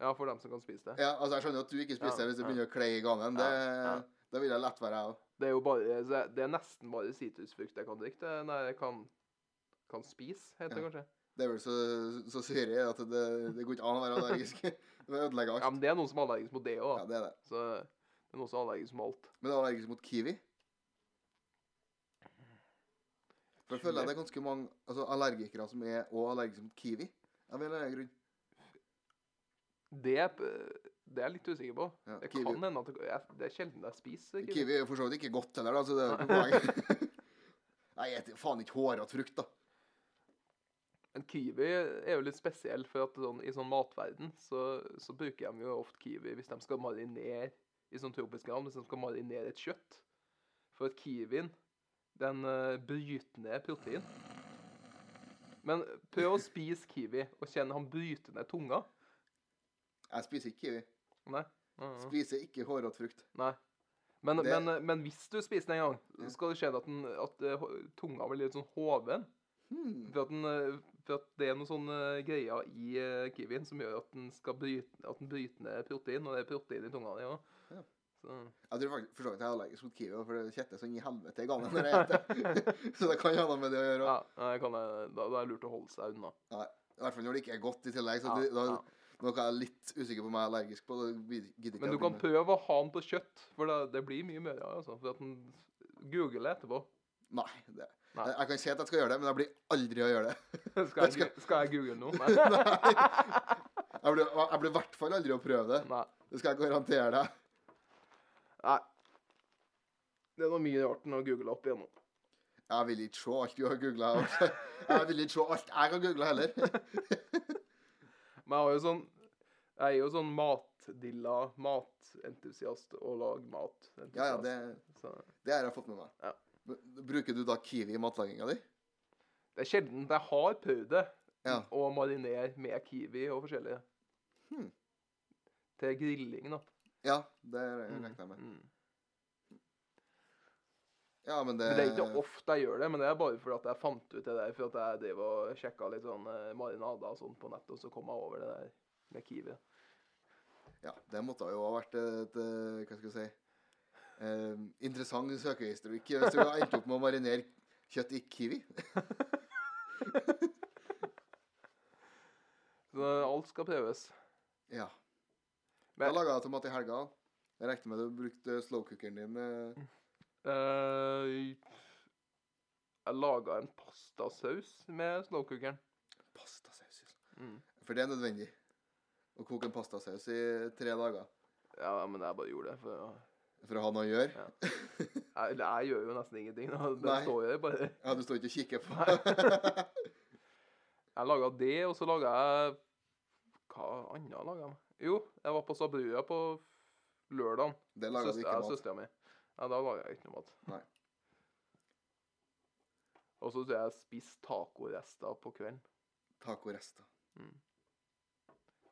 [SPEAKER 1] Ja, for dem som kan spise det.
[SPEAKER 2] Ja, altså Jeg skjønner jo at du ikke spiser
[SPEAKER 1] Ja,
[SPEAKER 2] det hvis det
[SPEAKER 1] ja.
[SPEAKER 2] begynner å kle i ganen. Det,
[SPEAKER 1] Ja, ja.
[SPEAKER 2] Da vil jeg lett være jeg òg.
[SPEAKER 1] Det er jo bare så Det er nesten bare sitrusfrukt jeg kan drikke. Det- Nei, jeg kan, kan spise, heter det kanskje.
[SPEAKER 2] Det er vel så, så syrig at det, det går ikke an å være allergisk. <laughs> Det ødelegger
[SPEAKER 1] Ja, men
[SPEAKER 2] alt.
[SPEAKER 1] det er noen som er allergisk mot det òg,
[SPEAKER 2] Ja,
[SPEAKER 1] da.
[SPEAKER 2] det er det.
[SPEAKER 1] Så det er noen som er allergisk mot alt.
[SPEAKER 2] Men det er allergisk mot kiwi. For jeg føler at det er ganske mange altså, allergikere som er også allergiske mot kiwi. Av en eller annen grunn.
[SPEAKER 1] Det, er p- det er jeg litt usikker på.
[SPEAKER 2] Ja,
[SPEAKER 1] det
[SPEAKER 2] kiwi.
[SPEAKER 1] kan hende at det, jeg, det er sjelden jeg spiser kiwi.
[SPEAKER 2] Kiwi er jo for så vidt ikke godt heller, da, så det er jo ikke poenget. <laughs> Nei, jeg spiser faen ikke hårete frukt, da.
[SPEAKER 1] Men kiwi er jo litt spesiell, for at sånn, i sånn matverden så, så bruker de jo ofte kiwi hvis de skal marinere i sånn tropisk gram, hvis de skal marinere et kjøtt. For at kiwien, den eh, bryter ned protein. Men prøv å spise kiwi og kjenn han bryter ned tunga.
[SPEAKER 2] Jeg spiser ikke kiwi.
[SPEAKER 1] Nei. Mm.
[SPEAKER 2] Spiser ikke hårete frukt.
[SPEAKER 1] Nei. Men,
[SPEAKER 2] Det-
[SPEAKER 1] men, eh, men hvis du spiser den en gang, så skal det skje at, den, at eh, ho- tunga blir litt sånn hoven.
[SPEAKER 2] Hmm.
[SPEAKER 1] For at, den, eh, for at det er noen sånne greier i eh, kiwien som gjør at den, skal bryte, at den bryter ned protein, og det er protein i tunga di òg.
[SPEAKER 2] Ja.
[SPEAKER 1] Så
[SPEAKER 2] Jeg tror faktisk for så vidt jeg er allergisk mot kiwi, for det kjetter sånn i helvete i gangen når jeg spiser. så det <laughs> kan ha noe med det å gjøre.
[SPEAKER 1] ja, nei, kan jeg, da, da er det lurt å holde seg unna.
[SPEAKER 2] I hvert fall når det ikke er godt i tillegg. Så
[SPEAKER 1] Ja,
[SPEAKER 2] det, da,
[SPEAKER 1] ja.
[SPEAKER 2] Noe jeg er litt usikker på om jeg er allergisk på. Det gidder ikke
[SPEAKER 1] Men
[SPEAKER 2] jeg
[SPEAKER 1] du
[SPEAKER 2] å
[SPEAKER 1] kan
[SPEAKER 2] begynne med.
[SPEAKER 1] prøve å ha den på kjøtt, for det, det blir mye mer av altså, for at den Google etterpå. <laughs>
[SPEAKER 2] Nei, det,
[SPEAKER 1] Nei.
[SPEAKER 2] Jeg, jeg kan si at jeg skal gjøre det, men jeg blir aldri å gjøre det.
[SPEAKER 1] Skal jeg,
[SPEAKER 2] skal-
[SPEAKER 1] gu- skal jeg google <laughs> noe?
[SPEAKER 2] Nei.
[SPEAKER 1] Nei.
[SPEAKER 2] Jeg blir, jeg blir i hvert fall aldri å prøve det.
[SPEAKER 1] nei.
[SPEAKER 2] Det skal jeg garantere deg.
[SPEAKER 1] nei. Det er noe mye rart enn å google opp igjennom.
[SPEAKER 2] Jeg vil ikke se alt du har googla. Jeg vil ikke se alt jeg har googla heller.
[SPEAKER 1] Men jeg har jo sånn Jeg er jo sånn matdilla, matentusiast og lag mat.
[SPEAKER 2] Ja, ja, det,
[SPEAKER 1] Så
[SPEAKER 2] det har jeg fått med meg.
[SPEAKER 1] Ja.
[SPEAKER 2] Men Bruker du da kiwi i matlaginga di?
[SPEAKER 1] det er sjelden jeg har prøvd det.
[SPEAKER 2] Ja.
[SPEAKER 1] Å marinere med kiwi og forskjellige.
[SPEAKER 2] Hmm.
[SPEAKER 1] Til grilling, da.
[SPEAKER 2] Ja, det regner jeg med.
[SPEAKER 1] Mm.
[SPEAKER 2] Ja, men det,
[SPEAKER 1] Men Det er ikke ofte jeg gjør det, men det er bare fordi at jeg fant ut det der. For at jeg drev og sjekka litt sånn eh, marinader og sånn på nettet, og så kom jeg over det der med kiwi.
[SPEAKER 2] Ja, det måtte jo ha vært et, eh, Hva skal jeg si eh, Interessant søkehistorikk hvis du har endt opp med å marinere kjøtt i kiwi.
[SPEAKER 1] Så alt skal prøves.
[SPEAKER 2] Ja.
[SPEAKER 1] Men-
[SPEAKER 2] Da laga jeg tomat i helga. Jeg regner med du brukte slowcookeren din. eh.
[SPEAKER 1] Mm. Eh, jeg laga en pastasaus med snowcookeren.
[SPEAKER 2] Pastasaus. altså.
[SPEAKER 1] Mm.
[SPEAKER 2] For det er nødvendig. Å koke en pastasaus i tre dager.
[SPEAKER 1] Ja, men jeg bare gjorde det for å
[SPEAKER 2] for å ha noe å gjøre.
[SPEAKER 1] Ja. Jeg, jeg gjør jo nesten ingenting. Da. Det
[SPEAKER 2] Nei.
[SPEAKER 1] står jo der bare.
[SPEAKER 2] Ja, du står ikke og kikker på
[SPEAKER 1] Jeg laga det, og så laga jeg Hva annet laga jeg? Jo, jeg var på Sabrua på lørdag.
[SPEAKER 2] <laughs> Det lager du ikke mat.
[SPEAKER 1] Søstera mi. Ja, da laga jeg ikke noe mat.
[SPEAKER 2] Nei.
[SPEAKER 1] Og så tror jeg jeg spiste tacorester på kvelden.
[SPEAKER 2] Tacorester.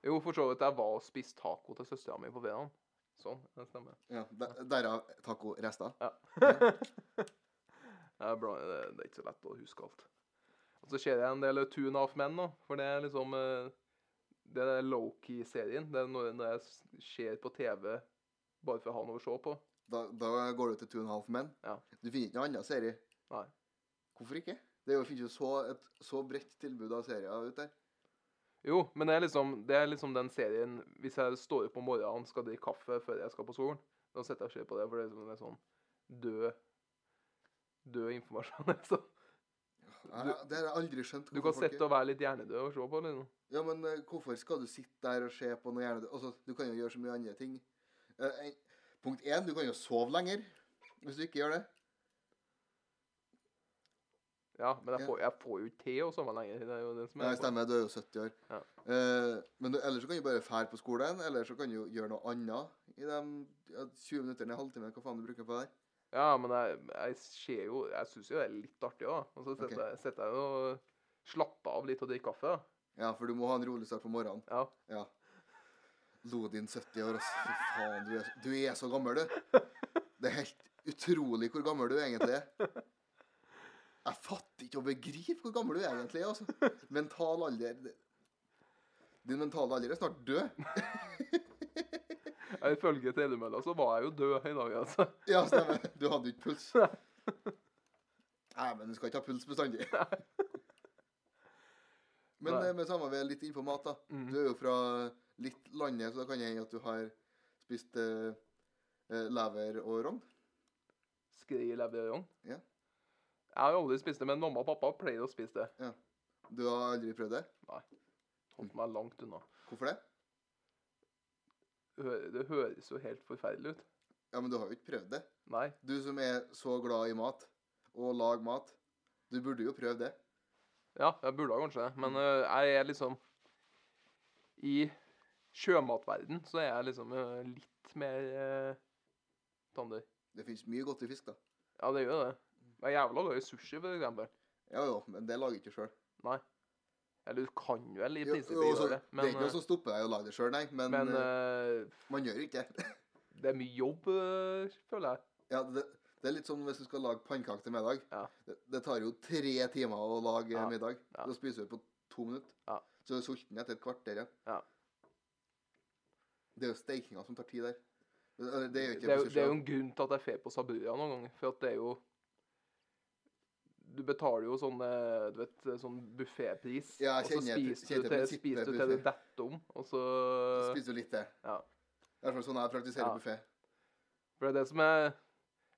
[SPEAKER 1] Jo, for så vidt. Jeg var og spiste taco til søstera mi på fredag. Sånn, det stemmer.
[SPEAKER 2] Ja, der- Derav tacorester.
[SPEAKER 1] Ja. det, er bra, det, det er ikke så lett å huske alt. Og så ser jeg en del Tune Half Men nå, for det er liksom eh, Det er low-key-serien. Det er noe når jeg s- ser på TV bare for å ha noe å se på.
[SPEAKER 2] Da, da går du til Two and a Half Men.
[SPEAKER 1] Ja.
[SPEAKER 2] Du finner ikke noen annen serie.
[SPEAKER 1] Nei.
[SPEAKER 2] Hvorfor ikke? Det er jo, finnes jo så, et så bredt tilbud av serier ute der.
[SPEAKER 1] Jo, men det er liksom, det er liksom den serien Hvis jeg står opp om morgenen og skal drikke kaffe før jeg skal på skolen, da setter jeg og ser på det, for det er liksom- det er sånn død Død informasjon. <laughs> liksom.
[SPEAKER 2] Ja, ja, det har jeg aldri skjønt.
[SPEAKER 1] Du
[SPEAKER 2] hvorfor
[SPEAKER 1] kan
[SPEAKER 2] folk
[SPEAKER 1] sitte og være litt hjernedød og se på. liksom.
[SPEAKER 2] Ja, men eh, hvorfor skal du sitte der og se på noe gjerne Altså, du kan jo gjøre så mye andre ting. Eh, en- punkt én, du kan jo sove lenger hvis du ikke gjør det.
[SPEAKER 1] Ja, men jeg
[SPEAKER 2] Ja.
[SPEAKER 1] får, jeg får jo ikke til å sove lenger. Det er jo det som
[SPEAKER 2] Nei,
[SPEAKER 1] er
[SPEAKER 2] stemmer, du er jo 70 år.
[SPEAKER 1] Ja.
[SPEAKER 2] Eh, men du, ellers så kan du bare fære på skolen, eller så kan du jo gjøre noe annet i de ja, 20 minuttene, en halvtime, hva faen du bruker på det der.
[SPEAKER 1] Ja, men jeg, jeg ser jo Jeg syns jo det er litt artig òg. Og så setter
[SPEAKER 2] Ok.
[SPEAKER 1] jeg- setter jeg jo og slapper av litt og drikker kaffe. da.
[SPEAKER 2] Ja, for du må ha en rolig start på morgenen.
[SPEAKER 1] Ja.
[SPEAKER 2] Ja. Lodin 70 år, altså. Fy faen, du er, du er så gammel, du. Det er helt utrolig hvor gammel du egentlig er. Jeg fatter ikke og begriper hvor gammel du egentlig er. altså. Mental alder det- Din mentale alder er snart død.
[SPEAKER 1] Ja, Ifølge Telemølla så var jeg jo død i dag, altså.
[SPEAKER 2] Ja, stemmer. Du hadde jo ikke puls. Nei, men du skal ikke ha puls bestandig. Men
[SPEAKER 1] Nei.
[SPEAKER 2] eh, med samme ved litt innpå mat, da.
[SPEAKER 1] Mm.
[SPEAKER 2] Du er jo fra litt landet, så da kan det hende at du har spist eh, eh, lever og rogn.
[SPEAKER 1] Skri leverong.
[SPEAKER 2] Ja.
[SPEAKER 1] Jeg har jo aldri spist det, men mamma og pappa pleier å spise det.
[SPEAKER 2] Du har aldri prøvd det? Mm.
[SPEAKER 1] Holdt meg langt unna.
[SPEAKER 2] Hvorfor det?
[SPEAKER 1] Det hø- Det høres jo helt forferdelig ut.
[SPEAKER 2] Ja, men du har jo ikke prøvd det.
[SPEAKER 1] Nei.
[SPEAKER 2] Du som er så glad i mat, og lag mat. Du burde jo prøve det.
[SPEAKER 1] Ja, jeg burde ha kanskje det, men øh, jeg er liksom I sjømatverden så er jeg liksom øh, litt mer øh, tander.
[SPEAKER 2] Det fins mye godt i fisk, da.
[SPEAKER 1] Ja, det gjør det. Jeg er jævla glad i sushi, for eksempel.
[SPEAKER 2] Ja jo, men det lager ikke du sjøl.
[SPEAKER 1] Eller du kan vel i
[SPEAKER 2] altså, Det er
[SPEAKER 1] prinsippet gjøre det, men,
[SPEAKER 2] ikke noe som stopper deg å lage det sjøl, nei.
[SPEAKER 1] øh,
[SPEAKER 2] Men,
[SPEAKER 1] men
[SPEAKER 2] eh,
[SPEAKER 1] øh,
[SPEAKER 2] man gjør jo ikke det.
[SPEAKER 1] det er mye jobb, øh, føler jeg.
[SPEAKER 2] Ja, det, det er litt som hvis du skal lage pannekaker til middag.
[SPEAKER 1] Ja.
[SPEAKER 2] Det, det tar jo tre timer å lage
[SPEAKER 1] Ja,
[SPEAKER 2] middag.
[SPEAKER 1] ja.
[SPEAKER 2] Da spiser du på to minutter.
[SPEAKER 1] Ja.
[SPEAKER 2] Så er du sulten etter et kvarter igjen.
[SPEAKER 1] Ja.
[SPEAKER 2] Det er jo steikinga som tar tid der. Eller, Det er jo
[SPEAKER 1] Det
[SPEAKER 2] ikke
[SPEAKER 1] er, jo-
[SPEAKER 2] på seg
[SPEAKER 1] det er jo
[SPEAKER 2] selv.
[SPEAKER 1] en grunn til at jeg fer på Sabura noen ganger, for at det er jo Du betaler jo sånn eh, du vet, sånn buffépris,
[SPEAKER 2] Ja,
[SPEAKER 1] og
[SPEAKER 2] jeg
[SPEAKER 1] så
[SPEAKER 2] kjenner til-
[SPEAKER 1] spiser du
[SPEAKER 2] kjenner til
[SPEAKER 1] til,
[SPEAKER 2] prinsippet
[SPEAKER 1] spiser du til det
[SPEAKER 2] buffet.
[SPEAKER 1] detter om, og så
[SPEAKER 2] Så spiser du litt det.
[SPEAKER 1] Ja.
[SPEAKER 2] I hvert fall sånn jeg praktiserer
[SPEAKER 1] Ja.
[SPEAKER 2] buffet.
[SPEAKER 1] For det er det som er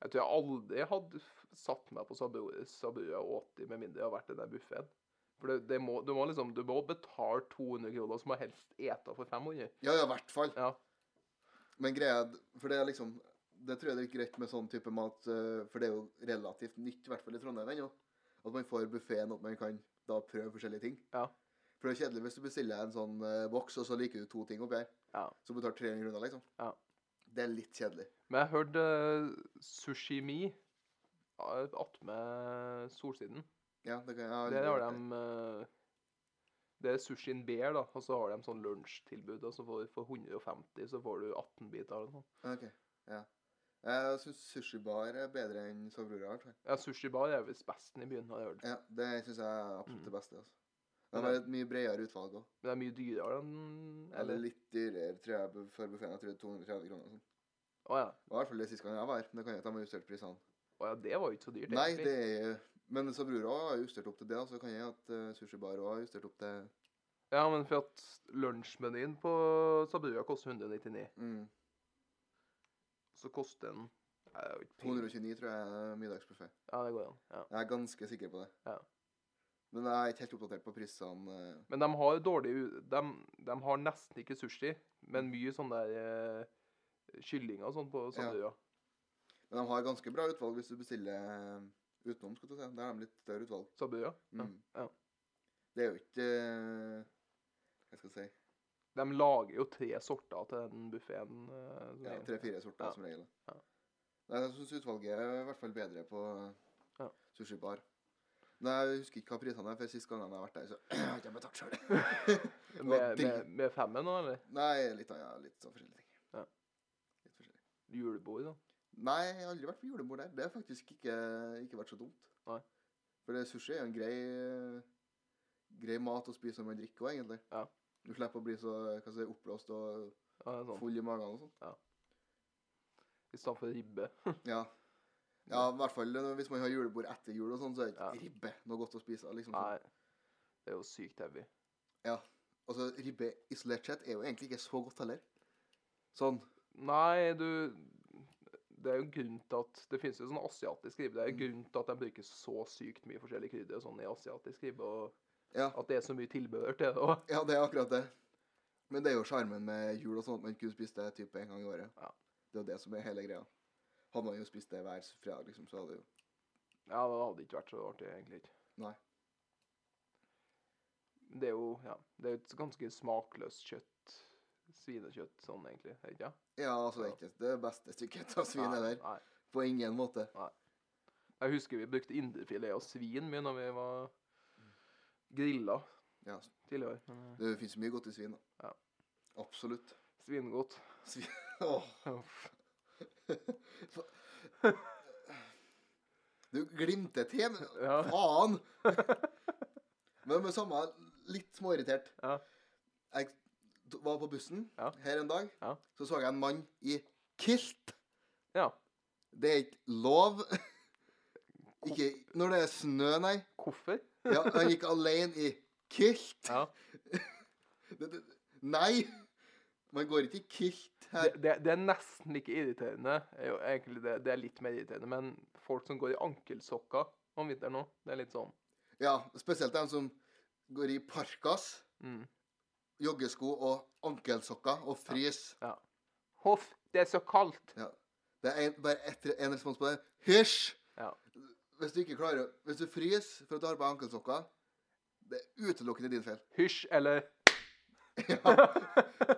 [SPEAKER 1] Jeg tror jeg aldri hadde f- satt meg på Sabura Sabura og 80 med mindre jeg har vært i den buffeen. For det, det må, du må liksom Du må betale 200 kroner, så må jeg helst ete for 500.
[SPEAKER 2] Ja, ja, i hvert fall.
[SPEAKER 1] Ja.
[SPEAKER 2] Men greia er- For det er liksom Det tror jeg det er greit med sånn type mat, eh, for det er jo relativt nytt, i hvert fall i Trondheim ennå. At man får buffeen, at man kan da prøve forskjellige ting.
[SPEAKER 1] Ja.
[SPEAKER 2] For det er kjedelig hvis du bestiller en sånn eh, boks, og så liker du to ting oppi her.
[SPEAKER 1] Ja.
[SPEAKER 2] Så betaler 300 kroner, liksom.
[SPEAKER 1] Ja.
[SPEAKER 2] Det er litt kjedelig.
[SPEAKER 1] Men jeg hørte eh, Sushimi eh, attmed Solsiden.
[SPEAKER 2] Ja, det kan jeg aldri
[SPEAKER 1] Der har
[SPEAKER 2] vært
[SPEAKER 1] de eh, Det er sushien Bear, da, og så har de sånn lunsjtilbud. Og så får for 150 så får du 18 biter eller noe sånt.
[SPEAKER 2] der. Ok, ja. Jeg syns sushibar er bedre enn Sabrura. i hvert fall.
[SPEAKER 1] Ja, sushi bar er visst besten i byen, har jeg hørt.
[SPEAKER 2] Ja, det syns jeg er absolutt
[SPEAKER 1] Mm.
[SPEAKER 2] det beste. altså.
[SPEAKER 1] Men
[SPEAKER 2] De har
[SPEAKER 1] det-
[SPEAKER 2] et mye bredere utvalg òg.
[SPEAKER 1] Men det er mye dyrere enn
[SPEAKER 2] Eller
[SPEAKER 1] Eller Å
[SPEAKER 2] litt dyrere, tror jeg, bu- for buffeen. Jeg tror det er 230 kroner. og sånn.
[SPEAKER 1] ja.
[SPEAKER 2] Det var i hvert fall det siste gang jeg var her. men Det kan hende at de har justert prisene.
[SPEAKER 1] Å ja, det var jo ikke så dyrt.
[SPEAKER 2] Nei,
[SPEAKER 1] egentlig.
[SPEAKER 2] det er Men Sabrura har justert opp til det. da, Så kan jeg at uh, sushibar også har justert opp til
[SPEAKER 1] Ja, men for at lunsjmenyen på Sabrua koster 199,
[SPEAKER 2] mm,
[SPEAKER 1] så koster den Nei, det er jo ikke penge.
[SPEAKER 2] 229, tror jeg, er middagsbuffé.
[SPEAKER 1] Ja, det går an. Ja.
[SPEAKER 2] Jeg er ganske sikker på det.
[SPEAKER 1] Ja.
[SPEAKER 2] Men jeg er ikke helt oppdatert på prisene. eh.
[SPEAKER 1] Men de har dårlig u- de, de har nesten ikke sushi, men mye sånn der eh, kyllinger og sånn på Sabrua.
[SPEAKER 2] Men de har ganske bra utvalg hvis du bestiller eh, utenom. skal du si. Da har de litt større utvalg.
[SPEAKER 1] Så bør jeg. Ja.
[SPEAKER 2] Mm. Det er jo ikke eh, Hva skal jeg si
[SPEAKER 1] De lager jo tre sorter til den eh, buffeen.
[SPEAKER 2] ja, Tre-fire sorter
[SPEAKER 1] Ja.
[SPEAKER 2] som regel.
[SPEAKER 1] Ja.
[SPEAKER 2] Nei, jeg syns utvalget er i hvert fall bedre på
[SPEAKER 1] Ja.
[SPEAKER 2] sushibar. Nei, Jeg husker ikke hva prisene er, for sist gangen jeg har vært der, så <clears throat> har ikke jeg betalt sjøl.
[SPEAKER 1] <laughs> Med,
[SPEAKER 2] digg.
[SPEAKER 1] med, med femmen nå, eller?
[SPEAKER 2] Nei, litt av ja, litt sånn forskjellige ting.
[SPEAKER 1] Ja.
[SPEAKER 2] Litt forskjellig.
[SPEAKER 1] Julebord, da.
[SPEAKER 2] Nei, jeg har aldri vært på julebord der. Det har faktisk ikke, ikke vært så dumt.
[SPEAKER 1] Nei.
[SPEAKER 2] For det sushi er jo en grei, grei mat å spise når man drikker òg, egentlig.
[SPEAKER 1] Ja.
[SPEAKER 2] Du slipper å bli så hva skal jeg si, oppblåst og
[SPEAKER 1] Ja, det er sånn.
[SPEAKER 2] full i magen og sånn.
[SPEAKER 1] I stedet for ribbe.
[SPEAKER 2] Ja. ja, i hvert fall hvis man har julebord etter jul og sånn, så er det ikke
[SPEAKER 1] Ja.
[SPEAKER 2] ribbe noe godt å spise. liksom.
[SPEAKER 1] Nei. Det er jo sykt heavy.
[SPEAKER 2] Altså, Ribbe isolert sett er jo egentlig ikke så godt heller. Sånn.
[SPEAKER 1] Nei, du Det er jo en grunn til at Det finnes jo sånn asiatisk ribbe. Det
[SPEAKER 2] Mm.
[SPEAKER 1] er jo en grunn til at de bruker så sykt mye forskjellige krydder og sånn i asiatisk ribbe. Og
[SPEAKER 2] Ja.
[SPEAKER 1] at det er så mye tilbehør til det òg.
[SPEAKER 2] Ja, det er akkurat det. Men det er jo sjarmen med jul og sånn, at man kun spiste det type en gang i året.
[SPEAKER 1] Ja.
[SPEAKER 2] Det er jo det som er hele greia. Hadde man jo spist det hver fredag, liksom, så hadde det jo
[SPEAKER 1] Ja, det hadde ikke vært så artig, egentlig. ikke.
[SPEAKER 2] Nei.
[SPEAKER 1] Det er jo ja, det er jo et ganske smakløst kjøtt. Svinekjøtt sånn, egentlig. Er det ikke?
[SPEAKER 2] Ja, altså, det er ikke det beste stykket av svin
[SPEAKER 1] Nei,
[SPEAKER 2] heller.
[SPEAKER 1] Nei.
[SPEAKER 2] På ingen måte.
[SPEAKER 1] Jeg husker vi brukte indrefilet av svin mye når vi var
[SPEAKER 2] Mm.
[SPEAKER 1] grilla
[SPEAKER 2] Ja,
[SPEAKER 1] tidligere. Men, eh,
[SPEAKER 2] Det fins mye godt i svin, da.
[SPEAKER 1] Ja.
[SPEAKER 2] Absolutt.
[SPEAKER 1] Svinegodt.
[SPEAKER 2] Svin <laughs> Åh.
[SPEAKER 1] Uff.
[SPEAKER 2] Du glimter til, men
[SPEAKER 1] Ja.
[SPEAKER 2] faen! Men med samme litt småirritert.
[SPEAKER 1] Ja.
[SPEAKER 2] Jeg t- var på bussen
[SPEAKER 1] Ja.
[SPEAKER 2] her en dag.
[SPEAKER 1] Ja.
[SPEAKER 2] Så så jeg en mann i kilt.
[SPEAKER 1] Ja.
[SPEAKER 2] Det er ikke lov. Ikke når det er snø, nei.
[SPEAKER 1] Hvorfor?
[SPEAKER 2] Ja, han gikk alene i kilt.
[SPEAKER 1] Ja.
[SPEAKER 2] Det, det, nei! Man går ikke i kilt her.
[SPEAKER 1] Det, det, det er nesten like irriterende. Er jo egentlig det, det er litt mer irriterende, men folk som går i ankelsokker om vinteren nå, det er litt sånn
[SPEAKER 2] Ja, spesielt de som går i parkas,
[SPEAKER 1] mm.
[SPEAKER 2] joggesko og ankelsokker og fryser.
[SPEAKER 1] Hoff, det er så kaldt!
[SPEAKER 2] Ja. Det er en, bare ett- en respons på det. Hysj!
[SPEAKER 1] Ja.
[SPEAKER 2] Hvis du ikke klarer Hvis du fryser for at du har på ankelsokker, det er utelukkende din feil. <laughs>
[SPEAKER 1] Hysj, eller
[SPEAKER 2] Ja.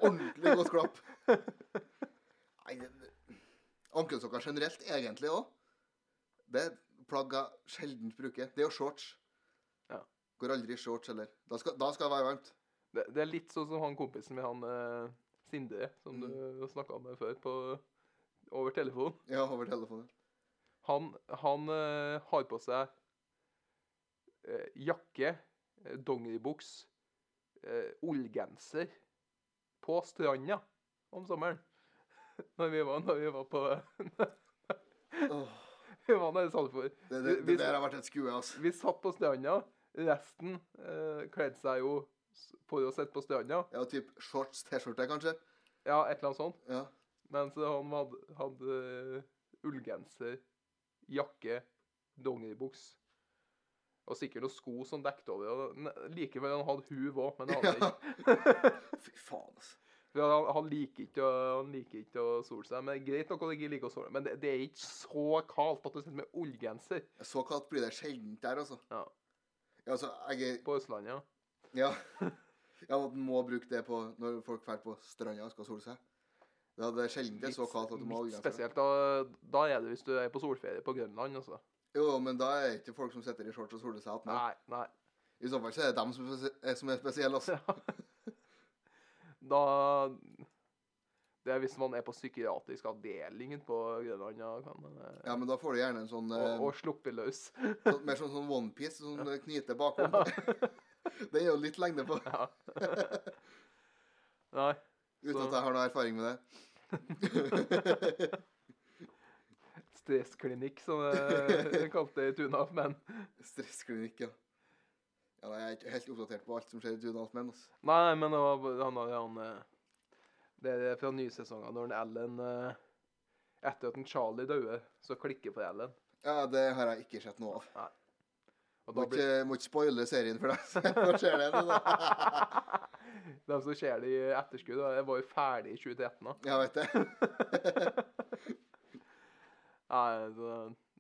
[SPEAKER 2] Ordentlig godt klapp. Nei, det- det- ankelsokker generelt, egentlig òg. Det er plagg jeg sjelden bruker. Det er jo shorts.
[SPEAKER 1] Ja.
[SPEAKER 2] Går aldri i shorts heller. Da skal, da skal det være varmt.
[SPEAKER 1] det, det er litt sånn som han kompisen med han eh, Sindre, som du snakka med før, på, over telefon.
[SPEAKER 2] Ja, over telefonen.
[SPEAKER 1] Han, han eh, har på seg eh, jakke, eh, dongeribuks, eh, ullgenser på stranda om sommeren. <laughs> Når vi var, når vi var på <laughs>
[SPEAKER 2] Åh,
[SPEAKER 1] Vi var nede i Sandefjord.
[SPEAKER 2] det, det,
[SPEAKER 1] Vi-
[SPEAKER 2] det der har vært et skue, altså.
[SPEAKER 1] Vi satt på stranda. Resten eh, kledde seg jo s- for å sitte på stranda.
[SPEAKER 2] Ja, typ shorts, T-skjorte, kanskje.
[SPEAKER 1] Ja, et eller annet sånt.
[SPEAKER 2] Ja.
[SPEAKER 1] Mens han hadde, hadde eh, ullgenser, jakke, dongeribuks. Og sikkert noen sko som dekket over. Og ne- likevel han hadde huv òg, men det
[SPEAKER 2] <laughs>
[SPEAKER 1] hadde han
[SPEAKER 2] Ja.
[SPEAKER 1] ikke.
[SPEAKER 2] Fy faen, altså.
[SPEAKER 1] For han, han, liker ikke å, han liker ikke å sole seg. Men Greit nok at han ikke liker å sole men det, det er ikke så kaldt at du sitter med ullgenser
[SPEAKER 2] Så kaldt blir det sjelden der, altså.
[SPEAKER 1] Ja.
[SPEAKER 2] Ja, altså, jeg er
[SPEAKER 1] på Østlandet.
[SPEAKER 2] Ja. ja at man må bruke det på når folk drar på stranda og skal sole seg. Ja, det er sjelden det er så kaldt at du må ha
[SPEAKER 1] litt
[SPEAKER 2] ullgenser.
[SPEAKER 1] spesielt. Da, da er det hvis du er på solferie på Grønland, altså.
[SPEAKER 2] Jo, men da er det ikke folk som sitter i shorts og soler seg attmed.
[SPEAKER 1] Nei, nei.
[SPEAKER 2] I så fall så er det dem som, er spes- som er
[SPEAKER 1] <laughs>
[SPEAKER 2] spesielle, altså.
[SPEAKER 1] Da Det er hvis man er på psykiatrisk avdeling på Grønland ja, kan man, eh,
[SPEAKER 2] Ja, men da får du gjerne en sånn eh,
[SPEAKER 1] og, og sluppe løs. <laughs>
[SPEAKER 2] sånn- Mer sånn, sånn onepiece som sånn, knyter bakom. <laughs> Den er jo litt lengde på,
[SPEAKER 1] Ja. Nei.
[SPEAKER 2] uten
[SPEAKER 1] Så-
[SPEAKER 2] at jeg har noe erfaring
[SPEAKER 1] <laughs>
[SPEAKER 2] med det.
[SPEAKER 1] Stressklinikk, som de kalte det <laughs> i Tuna. Men
[SPEAKER 2] Stressklinikk, ja. Ja, nei, Jeg er ikke helt oppdatert på alt som skjer i Dunalt, men altså.
[SPEAKER 1] Nei, men det var bare- han, har- han eh, Det er fra nye sesonger, når en Ellen eh, Etter at en Charlie døde, så klikker for Ellen.
[SPEAKER 2] Ja, det har jeg ikke sett noe av.
[SPEAKER 1] Og
[SPEAKER 2] Må
[SPEAKER 1] da
[SPEAKER 2] ikke,
[SPEAKER 1] blir <laughs>
[SPEAKER 2] må ikke spoile serien for deg. <laughs> så Hva skjer det nå, da? <laughs>
[SPEAKER 1] De som ser det i <laughs> etterskudd, da, jeg var jo ferdig i 2013. da.
[SPEAKER 2] Jeg vet det.
[SPEAKER 1] <laughs> Nei, så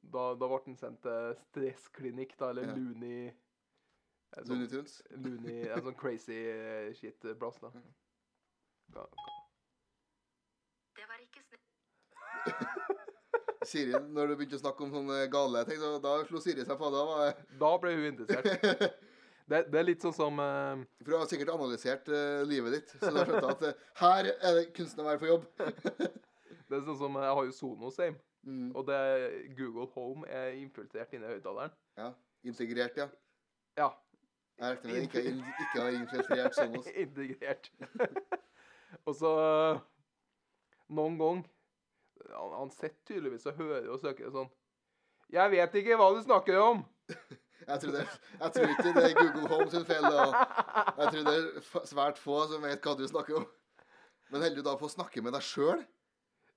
[SPEAKER 1] da, da ble han sendt til stressklinikk, da, eller
[SPEAKER 2] Ja.
[SPEAKER 1] Looney en sånn-
[SPEAKER 2] Looney Tunes.
[SPEAKER 1] Looney En sånn crazy eh, shit-plass, da.
[SPEAKER 2] Mm.
[SPEAKER 1] Ja.
[SPEAKER 3] Det var ikke snilt.
[SPEAKER 2] Siri, når du begynte å snakke om sånne gale ting, så da slo Siri seg på. Da var
[SPEAKER 1] <laughs> Da ble hun interessert.
[SPEAKER 2] jeg <laughs>
[SPEAKER 1] Det, det er litt sånn som eh,
[SPEAKER 2] For du har sikkert analysert eh, livet ditt, så da skjønte jeg at eh, her er det kunsten å være på jobb. <laughs>
[SPEAKER 1] Det er sånn som eh, Jeg har jo Sonos hjemme,
[SPEAKER 2] Mm,
[SPEAKER 1] og det Google Home er infiltrert inni høyttaleren.
[SPEAKER 2] ja. Integrert, ja.
[SPEAKER 1] Ja.
[SPEAKER 2] Jeg regner med det ikke, in- ikke har infiltrert sånn oss.
[SPEAKER 1] <laughs> Integrert. og så eh, Noen gang Han, han sitter tydeligvis og hører og søker sånn Jeg vet ikke hva du snakker om! <laughs>
[SPEAKER 2] Jeg tror, det, jeg tror ikke det er Google Home sin feil. Og jeg tror det er f- svært få som vet hva du snakker om. Men holder du da på å snakke med deg sjøl?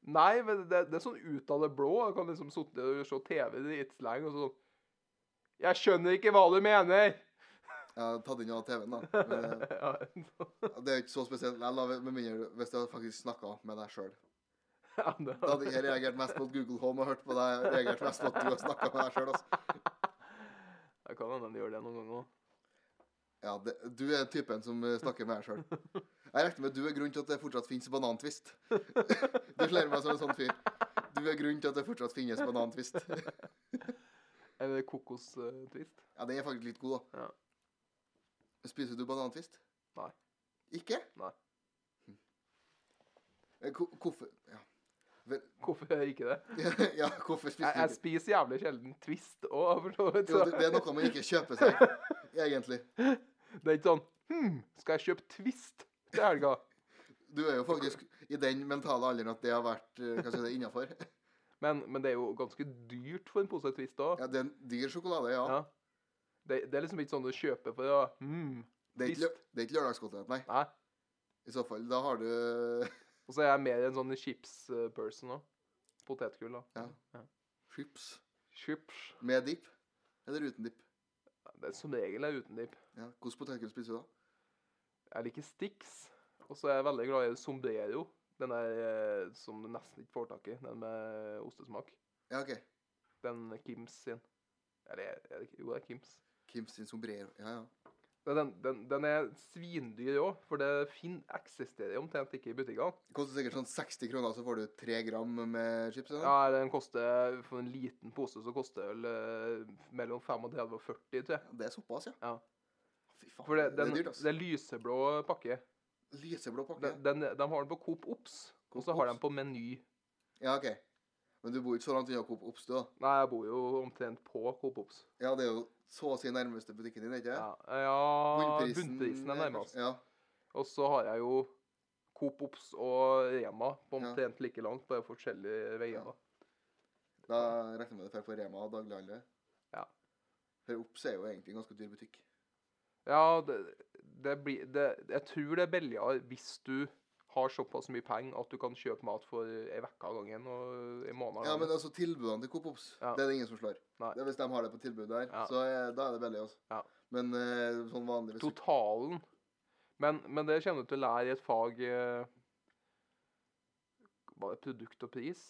[SPEAKER 1] Nei, men det, det er sånn ut av det blå. Jeg kan liksom sitte og se TV dritlenge og sånn Jeg skjønner ikke hva du mener! <laughs>
[SPEAKER 2] Jeg har tatt inn av TV-en, da. Men,
[SPEAKER 1] Ja,
[SPEAKER 2] eh, det er jo ikke så spesielt. Nei, la- Med mindre du- hvis du hadde faktisk snakka med deg sjøl.
[SPEAKER 1] det-
[SPEAKER 2] Da hadde jeg reagert mest på at Google Home har hørt på deg. og Reagert mest på at du har snakka med deg sjøl. Altså.
[SPEAKER 1] Jeg kan hende de gjør det noen ganger òg.
[SPEAKER 2] Ja, det, du er typen som eh, snakker med deg sjøl. Jeg regner med at du er grunnen til at det fortsatt finnes banantvist. <laughs> Du slår meg som en sånn fyr. Du er grunnen til at det fortsatt finnes banantvist.
[SPEAKER 1] Eller kokostvist.
[SPEAKER 2] Ja, den er faktisk litt god, da.
[SPEAKER 1] Ja.
[SPEAKER 2] Spiser du banantvist?
[SPEAKER 1] Nei.
[SPEAKER 2] Ikke?
[SPEAKER 1] Nei.
[SPEAKER 2] Hm. Eh, ko- Hvorfor ja. <laughs> Vel,
[SPEAKER 1] Hvorfor gjør jeg ikke det?
[SPEAKER 2] ja, hvorfor
[SPEAKER 1] Jeg,
[SPEAKER 2] spiser
[SPEAKER 1] jeg
[SPEAKER 2] du ikke?
[SPEAKER 1] spiser jævlig sjelden Twist òg, for så vidt.
[SPEAKER 2] Jo,
[SPEAKER 1] så-
[SPEAKER 2] det det er noe man ikke kjøper seg, <laughs> egentlig.
[SPEAKER 1] Det er ikke sånn Hm, skal jeg kjøpe Twist til helga?
[SPEAKER 2] Du er jo faktisk i den mentale alderen at det har vært eh, hva skal jeg si, innafor.
[SPEAKER 1] Men, men det er jo ganske dyrt for en pose Twist òg.
[SPEAKER 2] <laughs> Ja, det er en dyr sjokolade, ja.
[SPEAKER 1] Ja. Det, det er liksom ikke sånn du kjøper for å Hm.
[SPEAKER 2] Det er ikke,
[SPEAKER 1] Twist.
[SPEAKER 2] lø- det er ikke lørdagsgodteri, nei.
[SPEAKER 1] Nei.
[SPEAKER 2] I så fall, da har du eh,
[SPEAKER 1] Og så er jeg mer en sånn chips-person òg. Potetgull, da.
[SPEAKER 2] Ja. chips
[SPEAKER 1] Chips.
[SPEAKER 2] med dipp eller uten dipp.
[SPEAKER 1] Det er som regel er uten dipp.
[SPEAKER 2] Ja. Hvordan potetgull spiser du da?
[SPEAKER 1] Jeg liker Stix. Og så er jeg veldig glad i Sombrero. Den der eh, som du nesten ikke får tak i. Den med ostesmak.
[SPEAKER 2] Ja, OK.
[SPEAKER 1] Den Kims sin. Eller er det, ikke- jo, det er Kims.
[SPEAKER 2] Kim sin sombrero. Ja, ja.
[SPEAKER 1] Men Den, den, den er svindyr òg, for det fin eksisterer omtrent ikke i butikkene.
[SPEAKER 2] Det koster sikkert sånn 60 kroner, så får du 3 gram med chips. sånn.
[SPEAKER 1] Ja,
[SPEAKER 2] Eller?
[SPEAKER 1] den koster, For en liten pose så koster vel eh, mellom 35 og 40, tror jeg.
[SPEAKER 2] Det er såpass, ja.
[SPEAKER 1] Ja.
[SPEAKER 2] Fy faen,
[SPEAKER 1] For det, den,
[SPEAKER 2] det er
[SPEAKER 1] det,
[SPEAKER 2] dyrt, ass.
[SPEAKER 1] er lyseblå pakke.
[SPEAKER 2] Lyseblå pakke.
[SPEAKER 1] Den, den, de har den på Coop Ops, og
[SPEAKER 2] Coop
[SPEAKER 1] så har
[SPEAKER 2] Ops.
[SPEAKER 1] de på Meny.
[SPEAKER 2] Ja, OK. Men du bor ikke så langt unna Coop Oppstø, da.
[SPEAKER 1] Nei, jeg bor jo omtrent på Coop Ops.
[SPEAKER 2] Ja, det er jo så å si nærmeste butikken din, ikke
[SPEAKER 1] Ja, ja Bunnprisen er nærmest.
[SPEAKER 2] Ja.
[SPEAKER 1] Og så har jeg jo Coop Ops og Rema på
[SPEAKER 2] Ja.
[SPEAKER 1] omtrent like langt, bare forskjellige
[SPEAKER 2] Ja.
[SPEAKER 1] veier. da.
[SPEAKER 2] Da regner jeg med det drar på Rema og daglighandler.
[SPEAKER 1] Ja.
[SPEAKER 2] For Ops er jo egentlig en ganske dyr butikk.
[SPEAKER 1] Ja, det, det blir det, Jeg tror det er billigere hvis du har såpass mye penger at du kan kjøpe mat for ei uke av gangen og en måned av
[SPEAKER 2] Ja, men
[SPEAKER 1] gangen.
[SPEAKER 2] altså tilbudene til Coop Ops,
[SPEAKER 1] Ja.
[SPEAKER 2] det er det ingen som slår.
[SPEAKER 1] Nei.
[SPEAKER 2] Det er hvis de har det på tilbud der,
[SPEAKER 1] Ja.
[SPEAKER 2] så er, da er det billig, altså.
[SPEAKER 1] Ja.
[SPEAKER 2] Men eh, sånn vanlig hvis du-
[SPEAKER 1] Totalen men, men det kommer du til å lære i et fag eh, Var det produkt og pris?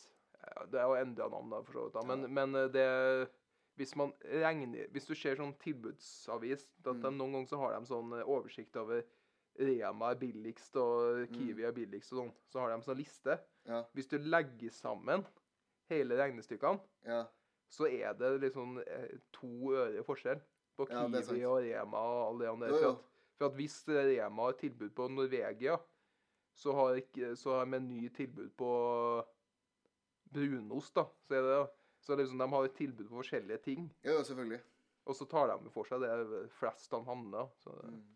[SPEAKER 1] Ja, Det er jo endra navn, da, for så vidt. da, Men, men eh, det hvis man regner, hvis du ser sånn tilbudsavis at de,
[SPEAKER 2] Mm.
[SPEAKER 1] Noen ganger så har de sånn eh, oversikt over Rema er billigst og Kiwi er billigst og sånn. Så har de sånn liste.
[SPEAKER 2] Mm. Ja.
[SPEAKER 1] Hvis du legger sammen hele regnestykkene,
[SPEAKER 2] Ja.
[SPEAKER 1] så er det liksom eh, to øre forskjell på
[SPEAKER 2] Ja, det er
[SPEAKER 1] Kiwi
[SPEAKER 2] sant.
[SPEAKER 1] og Rema og alle de andre.
[SPEAKER 2] Jo,
[SPEAKER 1] For
[SPEAKER 2] jo.
[SPEAKER 1] at, for at hvis Rema har tilbud på Norvegia, så har, ikke, så har Meny tilbud på brunost, da. Så er det så er det liksom, de har et tilbud på forskjellige ting,
[SPEAKER 2] Jo, jo, selvfølgelig.
[SPEAKER 1] og så tar de for seg det flest de handler. Så det,
[SPEAKER 2] Mm.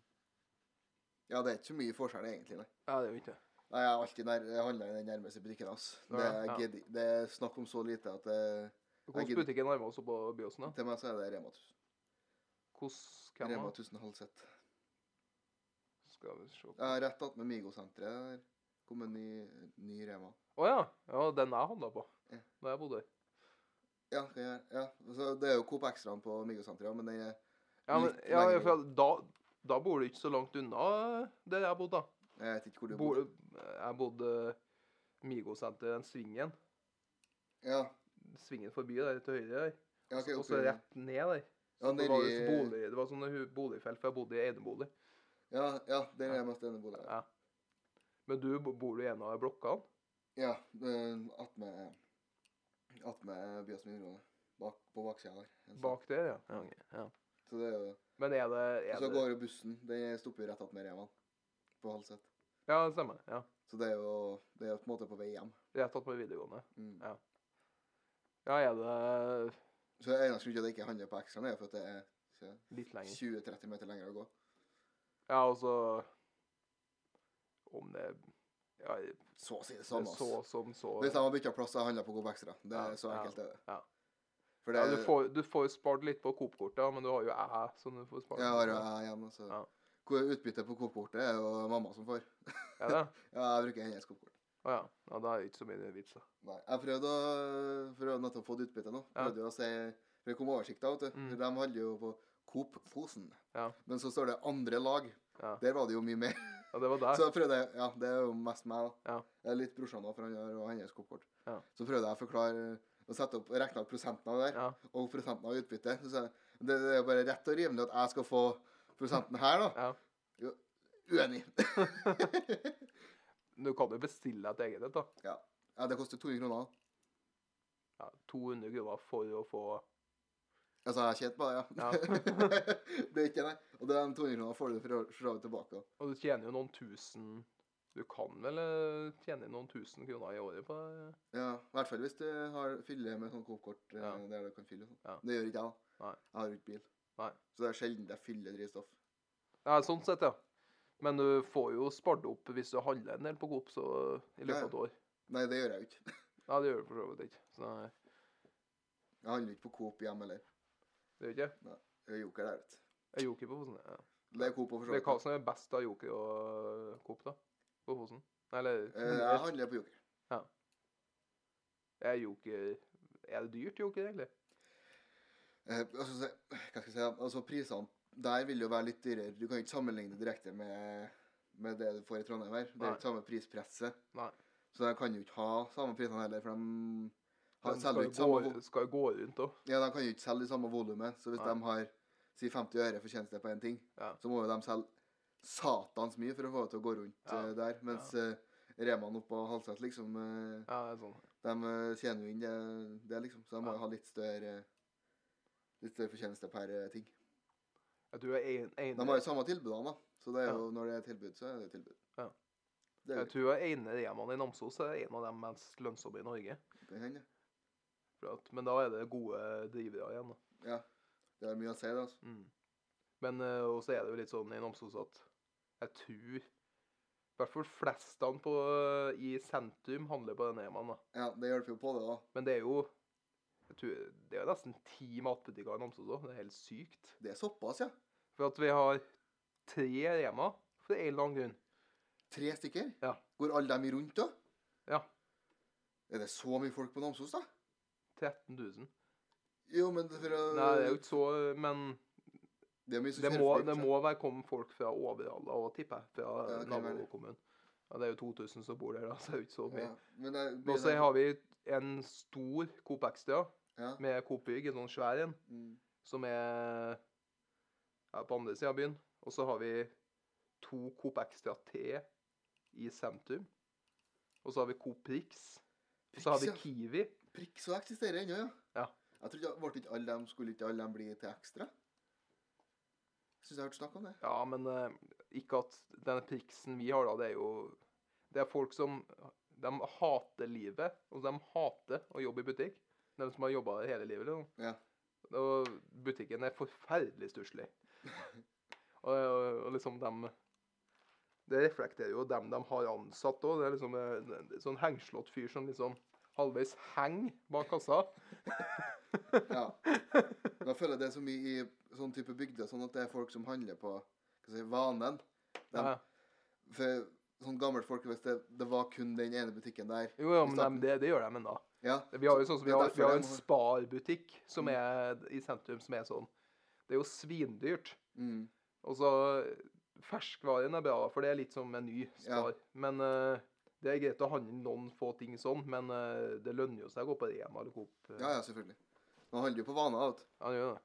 [SPEAKER 2] Ja, det er ikke så mye forskjell egentlig, nei.
[SPEAKER 1] ja, det er jo ikke det.
[SPEAKER 2] Nei, jeg har alltid nær, jeg handler i den nærmeste butikken hans.
[SPEAKER 1] Ja,
[SPEAKER 2] Det, er
[SPEAKER 1] ja.
[SPEAKER 2] gedi- det er snakk om så lite at det, Jeg
[SPEAKER 1] Hvordan
[SPEAKER 2] gidder-
[SPEAKER 1] butikken nærmer oss på Byåsen, da?
[SPEAKER 2] til meg så er det Rema 1000.
[SPEAKER 1] Hvordan hvem
[SPEAKER 2] Rema
[SPEAKER 1] da?
[SPEAKER 2] 1000 Halseth.
[SPEAKER 1] Skal vi se
[SPEAKER 2] Jeg har rett attmed Migo-senteret der. Kom en ny, ny Rema.
[SPEAKER 1] Å ja. ja. Den jeg handla på
[SPEAKER 2] Ja.
[SPEAKER 1] da jeg bodde her.
[SPEAKER 2] Ja, hva gjør jeg? ja. Så det er jo Coop Extraen på Migo-senteret, ja, men den er
[SPEAKER 1] Ja, men,
[SPEAKER 2] Litt
[SPEAKER 1] ja,
[SPEAKER 2] lenger
[SPEAKER 1] for da, da bor du ikke så langt unna der jeg bodde. da.
[SPEAKER 2] Jeg vet ikke hvor du
[SPEAKER 1] Bor, jeg bodde Migo-senteret, den svingen.
[SPEAKER 2] Ja.
[SPEAKER 1] svingen forbi der til høyre der.
[SPEAKER 2] Ja, ok,
[SPEAKER 1] og
[SPEAKER 2] oppi-
[SPEAKER 1] så rett ned der.
[SPEAKER 2] Ja,
[SPEAKER 1] Så det, var
[SPEAKER 2] nedi-
[SPEAKER 1] jo bolig, det var sånne hu- boligfelt, for jeg bodde i enebolig.
[SPEAKER 2] ja, ja, der er jeg mest enig bolig.
[SPEAKER 1] Ja. Men du bo- bor du i en av blokkene?
[SPEAKER 2] Ja, attmed Attmed Byåsen videregående. Bak, på baksida der. En sånn.
[SPEAKER 1] Bak der, ja. ja, ok, ja.
[SPEAKER 2] Så det er jo
[SPEAKER 1] Men er det,
[SPEAKER 2] Og
[SPEAKER 1] er
[SPEAKER 2] så
[SPEAKER 1] det
[SPEAKER 2] går jo bussen. Den stopper jo rett attmed Revan. På Halset.
[SPEAKER 1] Ja, det stemmer. ja.
[SPEAKER 2] Så det er jo det er jo på en måte på vei hjem.
[SPEAKER 1] Rett attmed videregående.
[SPEAKER 2] Mm.
[SPEAKER 1] Ja, er det
[SPEAKER 2] Så det eneste grunnen til at jeg ikke handler på ekstraen, er for at det er se,
[SPEAKER 1] litt lenger?
[SPEAKER 2] 20-30 meter lenger å gå.
[SPEAKER 1] Ja, altså Om det ja, det er
[SPEAKER 2] Så å si det samme.
[SPEAKER 1] så
[SPEAKER 2] ass.
[SPEAKER 1] som så
[SPEAKER 2] Hvis de har bytta plass, så handler jeg på Coop Extra. Det er
[SPEAKER 1] Ja,
[SPEAKER 2] så
[SPEAKER 1] ja,
[SPEAKER 2] enkelt er det.
[SPEAKER 1] ja.
[SPEAKER 2] For det
[SPEAKER 1] ja, du, får, du får jo spart litt på Coop-kortet, men du har jo æ som du får spart.
[SPEAKER 2] Jeg har jo jeg igjen, altså.
[SPEAKER 1] Ja.
[SPEAKER 2] Hvor Utbyttet på Coop-kortet er jo mamma som får.
[SPEAKER 1] Er det?
[SPEAKER 2] Ja, jeg bruker hennes Coop-kort.
[SPEAKER 1] Å ja. ja. Da er det ikke så mye vits, da.
[SPEAKER 2] Nei, jeg prøvde å for å nettopp få et utbytte nå.
[SPEAKER 1] Ja.
[SPEAKER 2] Prøvde jo å si For det kom oversikta, vet du.
[SPEAKER 1] Mm.
[SPEAKER 2] For De handler jo på Coop Fosen.
[SPEAKER 1] Ja.
[SPEAKER 2] Men så står det andre lag.
[SPEAKER 1] Ja.
[SPEAKER 2] Der var det jo mye mer.
[SPEAKER 1] Ja, det var der.
[SPEAKER 2] <laughs> Så jeg prøvde jeg Ja, det er jo mest meg, da.
[SPEAKER 1] Ja.
[SPEAKER 2] Jeg er litt brorsan òg, for han har og hennes Coop-kort.
[SPEAKER 1] Ja.
[SPEAKER 2] Så prøvde jeg å forklare og sette opp rekna opp prosenten av det der,
[SPEAKER 1] Ja.
[SPEAKER 2] og prosenten av utbyttet. Så sa jeg det, det er jo bare rett og rimelig at jeg skal få prosenten her, da.
[SPEAKER 1] ja.
[SPEAKER 2] Uenig. <laughs>
[SPEAKER 1] Du kan jo bestille et eget et, da.
[SPEAKER 2] ja, det koster 200 kroner.
[SPEAKER 1] Ja, 200 kroner for å få
[SPEAKER 2] Altså, jeg har tjent på det, ja. <laughs> det er ikke det. Og det er de 200 kronene får du for å- for så vidt tilbake. da.
[SPEAKER 1] Og du tjener jo noen tusen Du kan vel eh, tjene noen tusen kroner i året på det?
[SPEAKER 2] Ja, i hvert fall hvis du har fyller med sånn Coop-kort eh,
[SPEAKER 1] Ja.
[SPEAKER 2] der du kan fylle. og sånn.
[SPEAKER 1] Ja.
[SPEAKER 2] Det gjør ikke jeg, da.
[SPEAKER 1] Nei.
[SPEAKER 2] Jeg har jo ikke bil.
[SPEAKER 1] Nei.
[SPEAKER 2] Så det er sjelden jeg fyller drivstoff.
[SPEAKER 1] Ja, sånn sett, ja. Men du får jo spart opp hvis du handler en del på Coop så, i løpet av et år.
[SPEAKER 2] Nei, det gjør jeg jo ikke.
[SPEAKER 1] Ja, det gjør du for så vidt ikke. Så nei,
[SPEAKER 2] Jeg handler jo ikke på Coop hjemme heller.
[SPEAKER 1] det gjør ikke jeg.
[SPEAKER 2] Det er Joker der, vet du.
[SPEAKER 1] Jeg er Joker på Fosen. Ja.
[SPEAKER 2] Det er Coop og for
[SPEAKER 1] Det
[SPEAKER 2] så
[SPEAKER 1] er hva
[SPEAKER 2] vidt.
[SPEAKER 1] som er best av Joker og eh, Coop, da? På Fosen? Eller
[SPEAKER 2] Eh, Jeg handler på Joker.
[SPEAKER 1] Er Joker Er det dyrt, Joker, egentlig?
[SPEAKER 2] Eh, altså, så- hva skal jeg si, da? altså Prisene der vil jo være litt dyrere. Du kan jo ikke sammenligne direkte med, med det du får i Trondheim her. Det er jo ikke samme prispresset.
[SPEAKER 1] Nei.
[SPEAKER 2] Så de kan jo ikke ha samme prisene heller, for de har
[SPEAKER 1] Den
[SPEAKER 2] selger
[SPEAKER 1] skal
[SPEAKER 2] jo
[SPEAKER 1] jo
[SPEAKER 2] ikke samme
[SPEAKER 1] gå, skal jo gå rundt òg.
[SPEAKER 2] Ja, de kan jo ikke selge det samme volumet. Så hvis
[SPEAKER 1] Nei.
[SPEAKER 2] de har si 50 øre fortjeneste på én ting,
[SPEAKER 1] Ja.
[SPEAKER 2] så må jo de selge satans mye for å få det til å gå rundt
[SPEAKER 1] Ja.
[SPEAKER 2] eh, der. Mens ja. Reman oppe på Halset, liksom, eh,
[SPEAKER 1] Ja, det er sånn.
[SPEAKER 2] de eh, tjener jo inn det, det liksom. Så de må
[SPEAKER 1] Ja.
[SPEAKER 2] jo ha litt større Litt større fortjeneste per eh, ting.
[SPEAKER 1] Jeg tror jeg en,
[SPEAKER 2] De har jo samme tilbudene, da. Så det er
[SPEAKER 1] Ja.
[SPEAKER 2] jo, når det er tilbud, så er det tilbud.
[SPEAKER 1] Ja.
[SPEAKER 2] Det er
[SPEAKER 1] Jeg
[SPEAKER 2] jo
[SPEAKER 1] tror jeg ene Remaen i Namsos er en av de mest lønnsomme i Norge.
[SPEAKER 2] det hender.
[SPEAKER 1] For at, men da er det gode drivere igjen. da.
[SPEAKER 2] Det er mye å si, det. altså.
[SPEAKER 1] Mm. Men eh, også er det jo litt sånn i Namsos at jeg tror i hvert fall flestene på, i sentrum handler på den Remaen. da.
[SPEAKER 2] Ja, Det hjelper jo på, det da.
[SPEAKER 1] Men det er jo jeg tror, det er jo nesten ti matbutikker i Namsos òg. Det er helt sykt.
[SPEAKER 2] Det er såpass, ja.
[SPEAKER 1] For at vi har tre Rema for en eller annen grunn.
[SPEAKER 2] Tre stykker?
[SPEAKER 1] Ja.
[SPEAKER 2] Går alle dem i rundt, da?
[SPEAKER 1] Ja.
[SPEAKER 2] Er det så mye folk på Namsos, da?
[SPEAKER 1] 13 000.
[SPEAKER 2] Jo, men for å
[SPEAKER 1] Nei, det er jo ikke så Men
[SPEAKER 2] Det er mye som
[SPEAKER 1] Det
[SPEAKER 2] kjører
[SPEAKER 1] må,
[SPEAKER 2] forbi,
[SPEAKER 1] det
[SPEAKER 2] så-
[SPEAKER 1] må være kommet folk fra overalt og tipper jeg, fra
[SPEAKER 2] Ja, det kan være det.
[SPEAKER 1] nabokommunen. Ja, det er jo 2000 som bor der, da, <laughs> så det er jo ikke så mye.
[SPEAKER 2] Ja, men det er-
[SPEAKER 1] Og så har vi en stor Coop Extra
[SPEAKER 2] Ja.
[SPEAKER 1] med Coop Bygg, en sånn svær en,
[SPEAKER 2] mm.
[SPEAKER 1] som er ja, på andre sida av byen. Og så har vi to Coop Extra T i sentrum. Og så har vi Coop Prix. Og så har vi
[SPEAKER 2] Prix,
[SPEAKER 1] Kiwi.
[SPEAKER 2] Prikk så eksisterer ennå, ja.
[SPEAKER 1] Ja.
[SPEAKER 2] Jeg trodde ble ikke alle dem skulle ikke alle dem bli til ekstra? Syns jeg har hørt snakk om
[SPEAKER 1] <laughs>
[SPEAKER 2] det.
[SPEAKER 1] Ja, men eh, ikke at den priksen vi har da, det er jo Det er folk som De hater livet, og de hater å jobbe i butikk. De som har jobba hele livet. Liksom.
[SPEAKER 2] Ja.
[SPEAKER 1] Og butikken er forferdelig
[SPEAKER 2] <laughs>
[SPEAKER 1] stusslig. og, og, og liksom dem Det reflekterer jo dem de har ansatt òg. Det er liksom en, en, sånn hengslått fyr som liksom halvveis henger bak kassa.
[SPEAKER 2] Ja. Men jeg føler det er så mye i sånn type bygder, sånn at det er folk som handler på hva skal jeg si, vanen. Dem-
[SPEAKER 1] Ja.
[SPEAKER 2] For sånn gammelt folk, hvis det, det var kun den ene butikken der
[SPEAKER 1] Jo, ja,
[SPEAKER 2] i
[SPEAKER 1] men dem-
[SPEAKER 2] starten.
[SPEAKER 1] det, det gjør de ennå.
[SPEAKER 2] Ja.
[SPEAKER 1] Vi har jo sånn som
[SPEAKER 2] Det
[SPEAKER 1] vi
[SPEAKER 2] er
[SPEAKER 1] har,
[SPEAKER 2] derfor
[SPEAKER 1] vi har
[SPEAKER 2] jeg
[SPEAKER 1] en
[SPEAKER 2] må- Mm.
[SPEAKER 1] Spar-butikk som er i sentrum, som er sånn. Det er jo svindyrt.
[SPEAKER 2] Mm.
[SPEAKER 1] Og så Ferskvaren er bra, for det er litt som en ny Spar. Men eh, Det er greit å handle noen få ting sånn, men eh, det lønner jo seg å gå på Rema eller Coop. eh,
[SPEAKER 2] Ja, ja, selvfølgelig. Man handler jo på vaner. vet du.
[SPEAKER 1] Ja, det gjør det.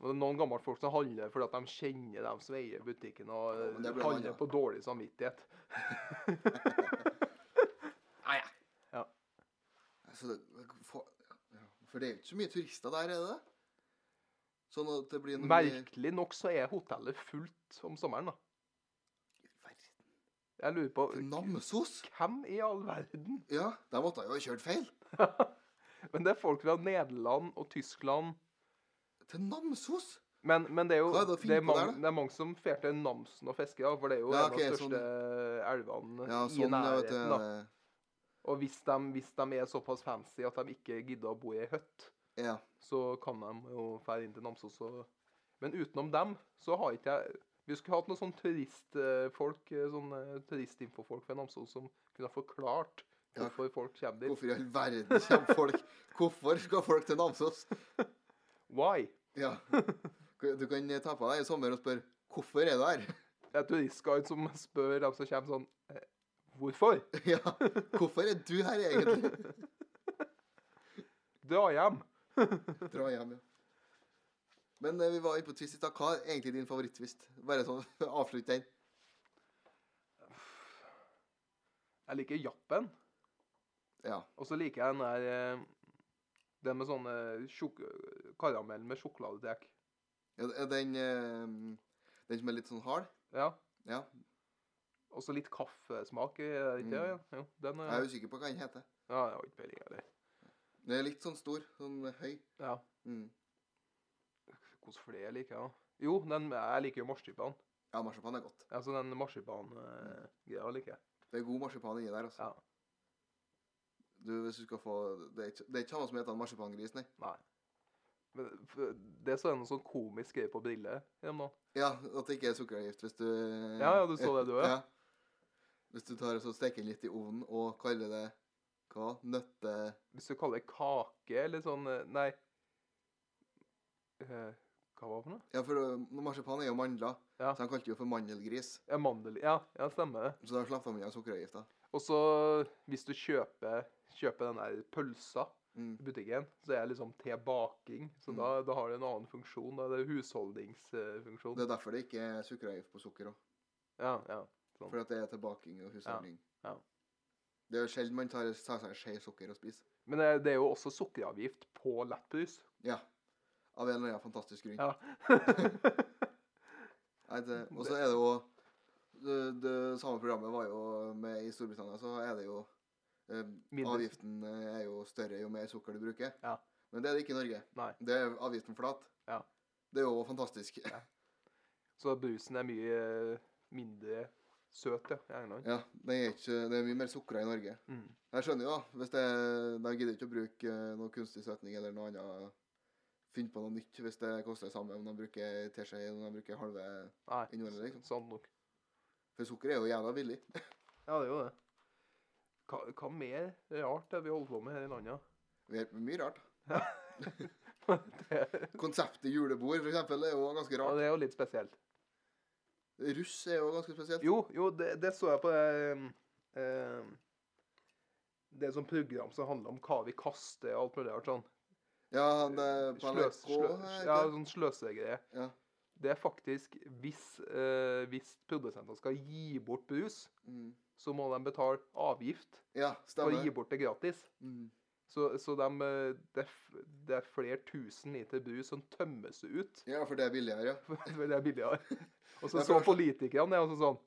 [SPEAKER 1] Men det er noen gamle folk som handler fordi at de kjenner dem som eier butikken, og
[SPEAKER 2] men det
[SPEAKER 1] eh,
[SPEAKER 2] blir man, ja.
[SPEAKER 1] handler på dårlig samvittighet.
[SPEAKER 2] Altså, det, for, ja, for det er jo ikke så mye turister der, er det det? Sånn at det blir noe mer-
[SPEAKER 1] Merkelig nok så er hotellet fullt om sommeren, da.
[SPEAKER 2] Verden.
[SPEAKER 1] Jeg lurer på
[SPEAKER 2] Til Namsos?
[SPEAKER 1] Hvem i all verden?
[SPEAKER 2] Ja, der måtte jeg jo ha kjørt feil.
[SPEAKER 1] Men det er folk fra Nederland og Tyskland.
[SPEAKER 2] Til Namsos?
[SPEAKER 1] Men, men det er jo
[SPEAKER 2] Hva er det å
[SPEAKER 1] det
[SPEAKER 2] finne
[SPEAKER 1] er,
[SPEAKER 2] på
[SPEAKER 1] mange,
[SPEAKER 2] der, da?
[SPEAKER 1] det er mange som fer til Namsen og fisker, da, for det er jo en
[SPEAKER 2] Ja,
[SPEAKER 1] av
[SPEAKER 2] ok,
[SPEAKER 1] de
[SPEAKER 2] sånn.
[SPEAKER 1] største elvene
[SPEAKER 2] Ja,
[SPEAKER 1] i
[SPEAKER 2] sånn, ja, vet
[SPEAKER 1] nærheten. da.
[SPEAKER 2] du.
[SPEAKER 1] Og hvis de, hvis de er såpass fancy at de ikke gidder å bo i ei hytte,
[SPEAKER 2] Ja.
[SPEAKER 1] så kan de jo fære inn til Namsos og Men utenom dem, så har ikke jeg Vi skulle hatt noen sånn turistfolk, eh, sånne turistinfofolk fra Namsos som kunne ha forklart
[SPEAKER 2] Ja.
[SPEAKER 1] hvorfor folk kommer dit.
[SPEAKER 2] Hvorfor i all verden kommer folk Hvorfor skal folk til Namsos?
[SPEAKER 1] Why?
[SPEAKER 2] Ja. Du kan ta på deg i sommer og spørre hvorfor er du her? <laughs>
[SPEAKER 1] Det er turistguide som spør dem som kommer sånn eh, Hvorfor?
[SPEAKER 2] Ja, hvorfor er du her egentlig?
[SPEAKER 1] Dra hjem.
[SPEAKER 2] Dra hjem, ja. Men eh, vi var inne på twist i stad. Hva er egentlig din favoritt-twist? Bare sånn, <laughs> avslutt den.
[SPEAKER 1] Jeg liker Jappen.
[SPEAKER 2] Ja.
[SPEAKER 1] Og så liker jeg den der eh, Den med sånne sjok karamell med sjokoladetrekk.
[SPEAKER 2] Ja, det er Den, eh, den som er litt sånn hard?
[SPEAKER 1] Ja.
[SPEAKER 2] Ja.
[SPEAKER 1] Og så litt kaffesmak. Er det ikke det?
[SPEAKER 2] Mm.
[SPEAKER 1] Jo, den
[SPEAKER 2] Jeg er
[SPEAKER 1] er
[SPEAKER 2] usikker på hva den heter.
[SPEAKER 1] Ja, jeg har ikke peiling, jeg. heller.
[SPEAKER 2] Den er litt sånn stor. Sånn høy.
[SPEAKER 1] Ja.
[SPEAKER 2] Mm.
[SPEAKER 1] Hvilke flere liker jeg, da? Jo, den, jeg liker jo marsipan.
[SPEAKER 2] Ja, marsipan er godt.
[SPEAKER 1] Altså den marsipan-greia liker jeg.
[SPEAKER 2] Det er god marsipan inni der, altså.
[SPEAKER 1] Ja.
[SPEAKER 2] Du, hvis du skal få Det er ikke, det er ikke han som heter han marsipangris, nei.
[SPEAKER 1] Nei. Men f- det er så en sånn komisk greie på briller gjennom dagen.
[SPEAKER 2] Ja, at det ikke er sukkeravgift hvis du
[SPEAKER 1] Ja, ja, du så det, du òg.
[SPEAKER 2] Ja. Hvis du tar og så steker den litt i ovnen og kaller det hva? Nøtte...
[SPEAKER 1] Hvis du kaller det kake eller sånn eh, Nei. Eh, hva var det for noe?
[SPEAKER 2] Ja, for øh, marsipan er jo mandler,
[SPEAKER 1] Ja.
[SPEAKER 2] så han kalte det jo for mandelgris.
[SPEAKER 1] Ja, mandel... Ja, ja stemmer det.
[SPEAKER 2] Så da slapp de unna sukkeravgifta.
[SPEAKER 1] Og så, hvis du kjøper, kjøper den der pølsa
[SPEAKER 2] Mm.
[SPEAKER 1] i butikken, så er det liksom til baking. Så da, da har det en annen funksjon. Da er det husholdningsfunksjon.
[SPEAKER 2] Det er derfor det ikke er sukkeravgift på sukker òg.
[SPEAKER 1] Ja, ja.
[SPEAKER 2] Fordi at det er til baking og husholdning.
[SPEAKER 1] Ja, ja.
[SPEAKER 2] Det er jo sjelden man tar, tar seg en skje sukker og spiser.
[SPEAKER 1] Men det, det er jo også sukkeravgift på lettbrus.
[SPEAKER 2] Ja. Av en eller annen fantastisk grunn.
[SPEAKER 1] Ja.
[SPEAKER 2] Nei,
[SPEAKER 1] <laughs>
[SPEAKER 2] det, og så er det jo det, det samme programmet var jo med i Storbritannia, så er det jo eh,
[SPEAKER 1] Mindre.
[SPEAKER 2] Avgiften eh, er jo større jo mer sukker du bruker.
[SPEAKER 1] Ja.
[SPEAKER 2] Men det er det ikke i Norge.
[SPEAKER 1] Nei.
[SPEAKER 2] Det er avgiften flat.
[SPEAKER 1] Ja.
[SPEAKER 2] Det er jo fantastisk. <laughs> Ja,
[SPEAKER 1] <laughs> så brusen er mye mindre søt, ja, i England.
[SPEAKER 2] det, er ikke, det er mye mer sukker i Norge.
[SPEAKER 1] Mm.
[SPEAKER 2] Jeg skjønner jo, da, hvis det, de gidder ikke å bruke eh, noe kunstig søtning eller noe annet. Finne på noe nytt hvis det koster det samme om de bruker teskje eller om de bruker halve
[SPEAKER 1] Nei, Sånn
[SPEAKER 2] innholdet. liksom.
[SPEAKER 1] sant nok.
[SPEAKER 2] For sukker er jo jævla billig.
[SPEAKER 1] Ja, det er jo det. Hva, hva mer rart er vi holder på med her i landet? <laughs>
[SPEAKER 2] Vi er mye rart.
[SPEAKER 1] det,
[SPEAKER 2] Konseptet julebord, for eksempel, er jo ganske
[SPEAKER 1] ja,
[SPEAKER 2] rart.
[SPEAKER 1] det er jo litt spesielt.
[SPEAKER 2] Russ er jo ganske spesielt.
[SPEAKER 1] Jo, jo det, det så jeg på det eh, Det er et sånt program som handler om hva vi kaster og alt mulig rart sånn.
[SPEAKER 2] Ja, han eh, er på
[SPEAKER 1] Sløs,
[SPEAKER 2] NRK
[SPEAKER 1] slø,
[SPEAKER 2] her,
[SPEAKER 1] ja,
[SPEAKER 2] ikke?
[SPEAKER 1] sånn sløsegreie.
[SPEAKER 2] Ja.
[SPEAKER 1] Det er faktisk hvis, eh, hvis produsentene skal gi bort brus,
[SPEAKER 2] Mm.
[SPEAKER 1] så må de betale avgift
[SPEAKER 2] ja,
[SPEAKER 1] for å
[SPEAKER 2] stemmer.
[SPEAKER 1] gi bort det gratis.
[SPEAKER 2] Mm.
[SPEAKER 1] Så, så de, eh, det, er f- det er flere tusen liter brus som tømmes ut.
[SPEAKER 2] Ja, for det er billigere, ja.
[SPEAKER 1] For det er
[SPEAKER 2] <laughs>
[SPEAKER 1] billigere. Og så
[SPEAKER 2] Ja,
[SPEAKER 1] så
[SPEAKER 2] for-
[SPEAKER 1] politikerne det, og så sånn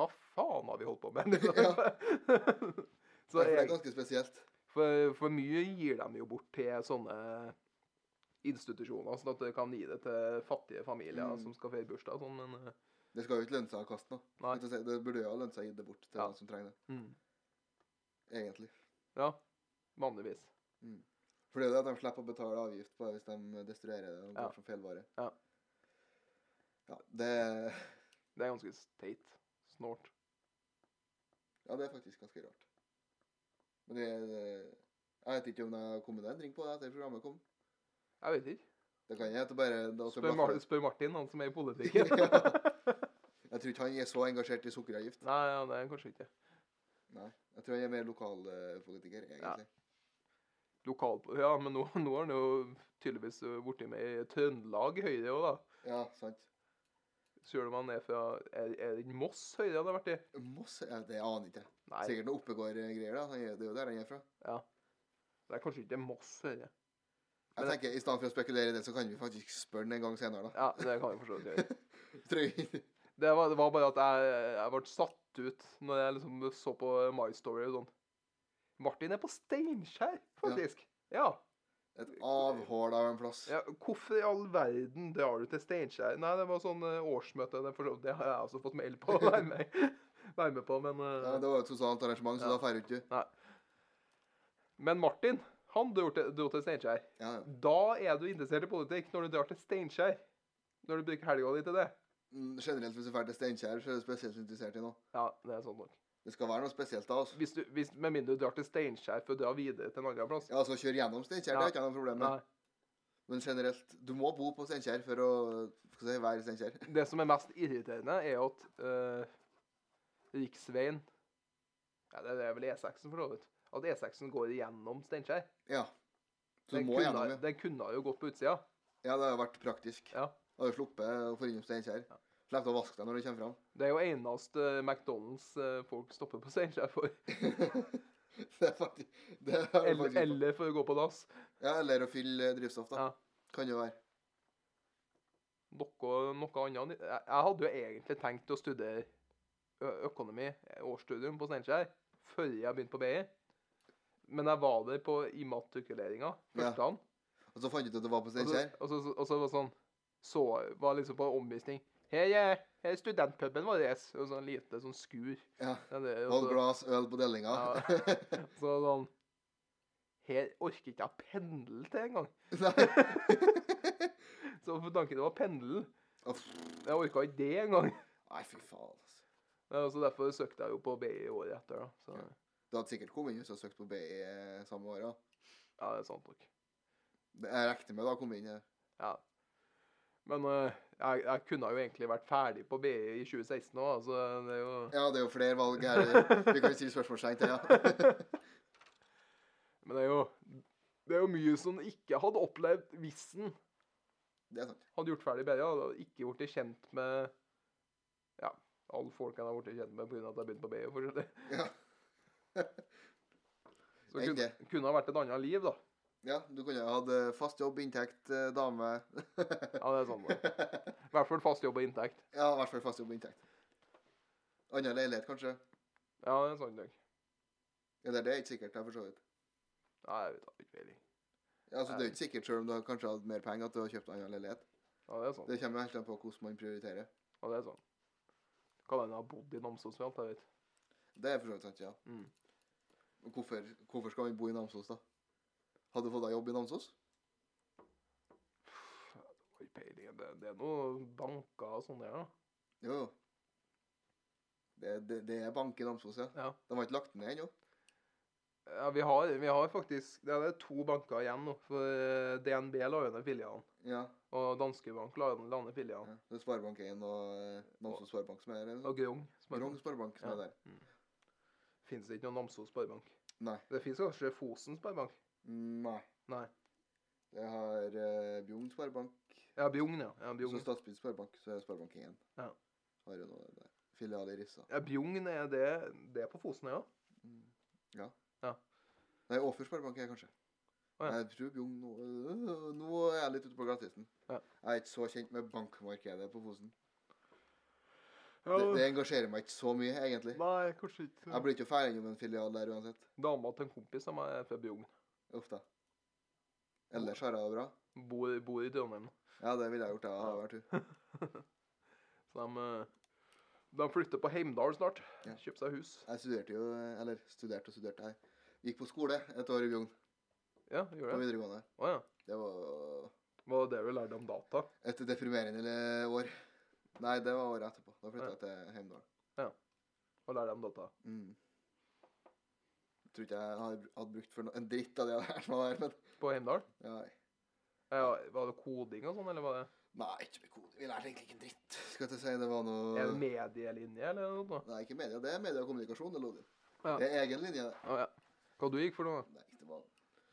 [SPEAKER 1] Hva faen har vi holdt på
[SPEAKER 2] <laughs>
[SPEAKER 1] med? Liksom.
[SPEAKER 2] ja
[SPEAKER 1] <laughs> så
[SPEAKER 2] for det er altså.
[SPEAKER 1] jeg,
[SPEAKER 2] ganske spesielt.
[SPEAKER 1] for, for mye gir de jo bort til sånne institusjoner, sånn at de kan gi det til fattige familier
[SPEAKER 2] Mm.
[SPEAKER 1] som skal feire bursdag. og Sånn, men eh,
[SPEAKER 2] Det skal jo ikke lønne seg å kaste noe.
[SPEAKER 1] Nei.
[SPEAKER 2] Vet du, Det burde jo ha lønt seg å gi det bort til
[SPEAKER 1] Ja.
[SPEAKER 2] noen som trenger det,
[SPEAKER 1] mm.
[SPEAKER 2] egentlig.
[SPEAKER 1] ja, vanligvis.
[SPEAKER 2] For det er jo det at de slipper å betale avgift på det hvis de destruerer det og går
[SPEAKER 1] Ja.
[SPEAKER 2] som feilvare.
[SPEAKER 1] Ja.
[SPEAKER 2] Ja, det,
[SPEAKER 1] Det er ganske teit. Snålt.
[SPEAKER 2] ja, det er faktisk ganske rart. Men det, det- Jeg vet ikke om det har kommet en endring på det etter programmet kom.
[SPEAKER 1] Jeg vet ikke.
[SPEAKER 2] Det kan jeg hete bare...
[SPEAKER 1] <laughs>
[SPEAKER 2] da-
[SPEAKER 1] Spør, Mar spør Martin, han som er i politikken.
[SPEAKER 2] Ja. Jeg Jeg tror ikke han er så engasjert i sukkeravgift.
[SPEAKER 1] Nei, ja, det er han kanskje ikke.
[SPEAKER 2] Nei. Jeg tror han er mer lokalpolitiker, egentlig.
[SPEAKER 1] Lokal, ja, men nå, nå har han jo tydeligvis blitt med i Trøndelag Høyre òg, da.
[SPEAKER 2] Ja, sant.
[SPEAKER 1] Selv om han er fra Er, er det ikke Moss Høyre han har vært i?
[SPEAKER 2] Moss? Jeg, det aner ikke. jeg.
[SPEAKER 1] Nei,
[SPEAKER 2] Sikkert noe Oppegård-greier, da. Han er- Det er jo der han er fra.
[SPEAKER 1] det er kanskje ikke Moss Høyre.
[SPEAKER 2] Jeg
[SPEAKER 1] Men-
[SPEAKER 2] tenker, I stedet for å spekulere i det, så kan vi faktisk spørre den en gang senere, da.
[SPEAKER 1] Ja, det kan jeg for så vidt gjøre.
[SPEAKER 2] Tror jeg.
[SPEAKER 1] Det var, det var bare at jeg, jeg ble satt ut når jeg liksom så på My Story og sånn. Martin er på Steinkjer, faktisk. Ja.
[SPEAKER 2] Et avhål av en plass.
[SPEAKER 1] ja. Hvorfor i all verden drar du til Steinkjer? Nei, det var sånn eh, årsmøte. Det, er for så, vidt- det har jeg også fått mail på <laughs> å være med, være med på, men eh,
[SPEAKER 2] Ja, det var jo et sosialt arrangement, så
[SPEAKER 1] Ja.
[SPEAKER 2] da feirer du ikke.
[SPEAKER 1] Men Martin, han dro til, dro til Steinkjer.
[SPEAKER 2] Ja, ja.
[SPEAKER 1] Da er du interessert i politikk, når du drar til Steinkjer. Når du bruker helga di til det.
[SPEAKER 2] Mm, Generelt hvis du drar til Steinkjer, så er du spesielt interessert i noe.
[SPEAKER 1] Ja, det er sånn nok.
[SPEAKER 2] Det skal være noe spesielt da, altså.
[SPEAKER 1] Hvis du, hvis, med mindre du drar til Steinkjer for å dra videre til en annen plass.
[SPEAKER 2] Ja, altså kjøre gjennom Steinkjer, det
[SPEAKER 1] Ja.
[SPEAKER 2] er ikke noe problem
[SPEAKER 1] Nei.
[SPEAKER 2] med. Men generelt, du må bo på Steinkjer for å skal jeg si, være i Steinkjer.
[SPEAKER 1] Det som er mest irriterende, er jo at eh, riksveien ja, Det er vel E6-en, for så vidt. At E6-en går gjennom Steinkjer.
[SPEAKER 2] Ja. Så
[SPEAKER 1] Den
[SPEAKER 2] du må
[SPEAKER 1] kunne-
[SPEAKER 2] gjennom, ja.
[SPEAKER 1] Den kunne jo gått på utsida.
[SPEAKER 2] Ja, det har vært praktisk.
[SPEAKER 1] Ja.
[SPEAKER 2] Da har du sluppet å få innom Steinkjer.
[SPEAKER 1] Ja.
[SPEAKER 2] Slipp å vaske deg når du kommer fram. <laughs>
[SPEAKER 1] Det er jo eneste McDonald's eh, folk stopper på Steinkjer for.
[SPEAKER 2] det er faktisk... Det er faktisk
[SPEAKER 1] Eller, eller for å gå på dass.
[SPEAKER 2] Ja, eller å fylle eh, drivstoff, da.
[SPEAKER 1] Ja.
[SPEAKER 2] Kan jo være.
[SPEAKER 1] Noe, noe annet. Jeg jeg hadde jo egentlig tenkt å studere ø- økonomi, årsstudium, på Steinkjer før jeg begynte på BI. Men jeg var der på immatrikuleringa
[SPEAKER 2] Ja.
[SPEAKER 1] første dagen.
[SPEAKER 2] Og så fant du ut at det var på
[SPEAKER 1] Og så,
[SPEAKER 2] Steinkjer.
[SPEAKER 1] og så, og så var det sånn Så var liksom på omvisning Her er, her er studentpuben vår. Og sånn lite sånn skur.
[SPEAKER 2] Ja.
[SPEAKER 1] Ja, det, og
[SPEAKER 2] Halv
[SPEAKER 1] så-
[SPEAKER 2] glass øl på delinga. <laughs>
[SPEAKER 1] Ja. så sånn Her orker ikke jeg pendle til engang.
[SPEAKER 2] Nei.
[SPEAKER 1] Så for tanken det var pendle.
[SPEAKER 2] <laughs> Uff.
[SPEAKER 1] Jeg orka ikke det engang.
[SPEAKER 2] Nei, fy faen. altså.
[SPEAKER 1] Ja, Så derfor søkte jeg jo på BI året etter. da. Så
[SPEAKER 2] Ja. Du hadde sikkert kommet inn hvis du hadde søkt på BI eh, samme år. Ja.
[SPEAKER 1] ja, det er sant nok.
[SPEAKER 2] Det- Jeg regner med da kom inn her.
[SPEAKER 1] Ja. Men eh, jeg, jeg kunne jo egentlig vært ferdig på BI i 2016 òg, altså. Det er jo
[SPEAKER 2] Ja, det er jo flere
[SPEAKER 1] <laughs>
[SPEAKER 2] valg her. Vi kan jo stille spørsmålstegn til, ja. <laughs>
[SPEAKER 1] Men det er jo Det er jo mye som ikke hadde opplevd hvis en
[SPEAKER 2] Det er sant.
[SPEAKER 1] hadde gjort ferdig bedre. Hadde ikke blitt kjent med Ja, alle folkene jeg har blitt kjent med pga. at jeg begynte på BI. for å si det.
[SPEAKER 2] Ja.
[SPEAKER 1] <laughs> Så
[SPEAKER 2] Tenk
[SPEAKER 1] kunne,
[SPEAKER 2] det.
[SPEAKER 1] kunne ha vært et annet liv, da.
[SPEAKER 2] ja, du kunne jo hatt eh, fast jobb, inntekt, eh, dame
[SPEAKER 1] Ja, det er sånn. det.
[SPEAKER 2] <laughs>
[SPEAKER 1] I hvert fall fast jobb og inntekt.
[SPEAKER 2] Ja, i hvert fall fast jobb og inntekt. Annen leilighet, kanskje.
[SPEAKER 1] Ja, det er sånn det.
[SPEAKER 2] Eller det er ikke sikkert, det er for så vidt.
[SPEAKER 1] Nei, jeg vet da ikke peiling.
[SPEAKER 2] Ja, altså, det er jo ikke sikkert, selv om du har kanskje hadde mer penger, at du har kjøpt annen leilighet.
[SPEAKER 1] Ja, det er sånn.
[SPEAKER 2] Det kommer jo helt an på hvordan man prioriterer.
[SPEAKER 1] Ja, det er sånn. Kan hende jeg har bodd i Namsos med alt, jeg vet.
[SPEAKER 2] Det er for så vidt sant, ja.
[SPEAKER 1] Mm.
[SPEAKER 2] Og Hvorfor, hvorfor skal man bo i Namsos, da? Hadde du fått deg jobb i Namsos?
[SPEAKER 1] Oi, peiling. Det, det er noen banker og sånn der, da.
[SPEAKER 2] Jo, jo. Det, det, det er bank i Namsos, ja.
[SPEAKER 1] Ja.
[SPEAKER 2] De har ikke lagt den ned ennå.
[SPEAKER 1] Ja, vi har, vi har faktisk Det er to banker igjen nå. For eh, DNB la jo ned filialen.
[SPEAKER 2] Ja.
[SPEAKER 1] Og Danske Bank la la ned filialen.
[SPEAKER 2] ja. Det er Sparebank1 og eh, Namsos Sparebank som er her. eller?
[SPEAKER 1] Og Grong.
[SPEAKER 2] Grong Sparebank som er der.
[SPEAKER 1] Fins det ikke noen Namsos Sparebank?
[SPEAKER 2] Nei.
[SPEAKER 1] Det fins kanskje Fosen Sparebank?
[SPEAKER 2] Nei.
[SPEAKER 1] Nei.
[SPEAKER 2] Det har eh, Bjugn Sparebank.
[SPEAKER 1] Ja, Bjugn, ja. Ja,
[SPEAKER 2] Så
[SPEAKER 1] Bjugn.
[SPEAKER 2] Statsbygd Sparebank, så er det Sparebank1.
[SPEAKER 1] Ja.
[SPEAKER 2] Har jo noe der. Filial i Rissa.
[SPEAKER 1] ja, Bjugn er det, det er på Fosen, ja.
[SPEAKER 2] Nei, Åfjord Sparebank er jeg kanskje.
[SPEAKER 1] Å, ja.
[SPEAKER 2] Jeg tror Bjugn nå, øh, nå er jeg litt ute på glattisen.
[SPEAKER 1] Ja.
[SPEAKER 2] Jeg er ikke så kjent med bankmarkedet på Fosen.
[SPEAKER 1] ja
[SPEAKER 2] Det, det engasjerer meg ikke så mye, egentlig.
[SPEAKER 1] Nei, kanskje ikke.
[SPEAKER 2] Jeg blir ikke ferdig om en filial der uansett.
[SPEAKER 1] Dama til en kompis av meg er fra Bjugn.
[SPEAKER 2] Ofte. Ellers har jeg det bra.
[SPEAKER 1] Bor, bor i Trondheim.
[SPEAKER 2] Ja, det ville jeg gjort. Jeg har vært hun.
[SPEAKER 1] Så de, eh, de flytter på Heimdal snart.
[SPEAKER 2] Ja.
[SPEAKER 1] Kjøper seg hus.
[SPEAKER 2] Jeg studerte jo Eller studerte og studerte. Jeg gikk på skole et år i Bjugn
[SPEAKER 1] Ja,
[SPEAKER 2] på
[SPEAKER 1] gjør det.
[SPEAKER 2] videregående.
[SPEAKER 1] Å ja.
[SPEAKER 2] Det var
[SPEAKER 1] Var det det du lærte om data?
[SPEAKER 2] et deprimerende år. Nei, det var året etterpå. Da flytta jeg til Heimdal.
[SPEAKER 1] Å lære om data?
[SPEAKER 2] Mm. Jeg tror ikke jeg har- hadde brukt for no en dritt av det jeg lærte meg der, men
[SPEAKER 1] På Heimdal?
[SPEAKER 2] ja,
[SPEAKER 1] Ja, var det koding og sånn, eller var det
[SPEAKER 2] Nei, ikke med kode. Vi lærte egentlig ikke en dritt. Skal jeg til å si det var noe
[SPEAKER 1] Er det medielinje eller noe?
[SPEAKER 2] Nei, ikke media. Det er media og kommunikasjon. Det, Lodin.
[SPEAKER 1] Ja.
[SPEAKER 2] det er egen linje. det.
[SPEAKER 1] Å ja. Hva du gikk for noe?
[SPEAKER 2] Nei, det var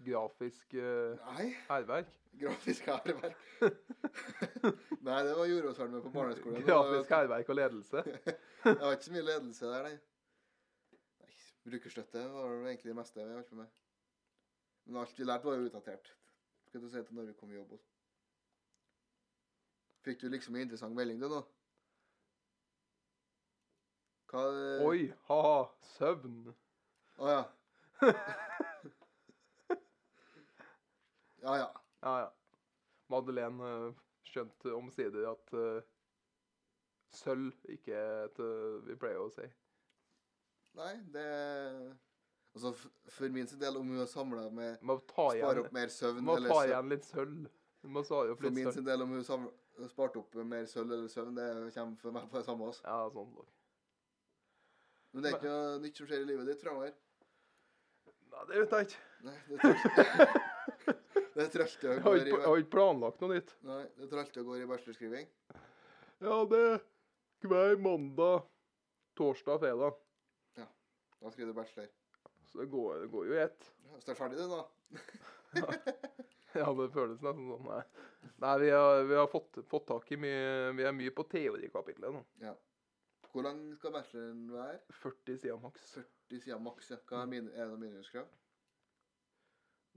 [SPEAKER 1] Grafisk eh,
[SPEAKER 2] Nei.
[SPEAKER 1] hærverk?
[SPEAKER 2] Grafisk hærverk. <laughs> Nei, det var jordbærferden med på barneskolen. Det var-
[SPEAKER 1] Grafisk hærverk og ledelse?
[SPEAKER 2] Jeg har ikke så mye ledelse der, nei. nei brukerstøtte var vel egentlig det meste jeg holdt på med. Men alt vi lærte, var jo utdatert. Skal du si til når vi kom i jobb. også. Fikk du liksom en interessant melding, du, nå? Hva eh,
[SPEAKER 1] Oi, ha, søvn.
[SPEAKER 2] Å
[SPEAKER 1] <laughs>
[SPEAKER 2] ja. Ja ja.
[SPEAKER 1] Ja, ja. Madeleine eh, skjønte omsider at eh, sølv ikke er et eh, Vi pleier å si.
[SPEAKER 2] Nei, det Altså, f- for min sin del, om hun har samla med
[SPEAKER 1] Du må ta
[SPEAKER 2] Spare
[SPEAKER 1] igjen,
[SPEAKER 2] opp mer søvn
[SPEAKER 1] du må
[SPEAKER 2] eller
[SPEAKER 1] ta
[SPEAKER 2] søvn.
[SPEAKER 1] igjen litt sølv. Du må svare opp
[SPEAKER 2] For
[SPEAKER 1] litt
[SPEAKER 2] min
[SPEAKER 1] sølv.
[SPEAKER 2] sin del, om hun sam- sparte opp mer sølv eller søvn, det kommer for meg på det samme. Også.
[SPEAKER 1] Ja, sånn nok.
[SPEAKER 2] Men det er ikke noe nytt som skjer i livet ditt framover.
[SPEAKER 1] Nei, det vet jeg ikke.
[SPEAKER 2] Nei, det trøster <laughs> Det trøster
[SPEAKER 1] Jeg har
[SPEAKER 2] og går
[SPEAKER 1] ikke,
[SPEAKER 2] i
[SPEAKER 1] jeg har ikke planlagt noe nytt.
[SPEAKER 2] Nei, det trøster og går i bachelorskriving.
[SPEAKER 1] Ja, det er hver mandag, torsdag, fredag.
[SPEAKER 2] Da skriver du bachelor.
[SPEAKER 1] Så det går, det går jo i ett. <laughs>
[SPEAKER 2] Ja, Så er det ferdig, det, da.
[SPEAKER 1] Ja, det føles nesten sånn. Nei, Nei vi har, vi har fått, fått tak i mye Vi er mye på teorikapitlet nå.
[SPEAKER 2] Hvor lang skal bacheloren være?
[SPEAKER 1] 40 sider maks.
[SPEAKER 2] De sier maks. Ja. Hva er, min, er det noen minimumskrav?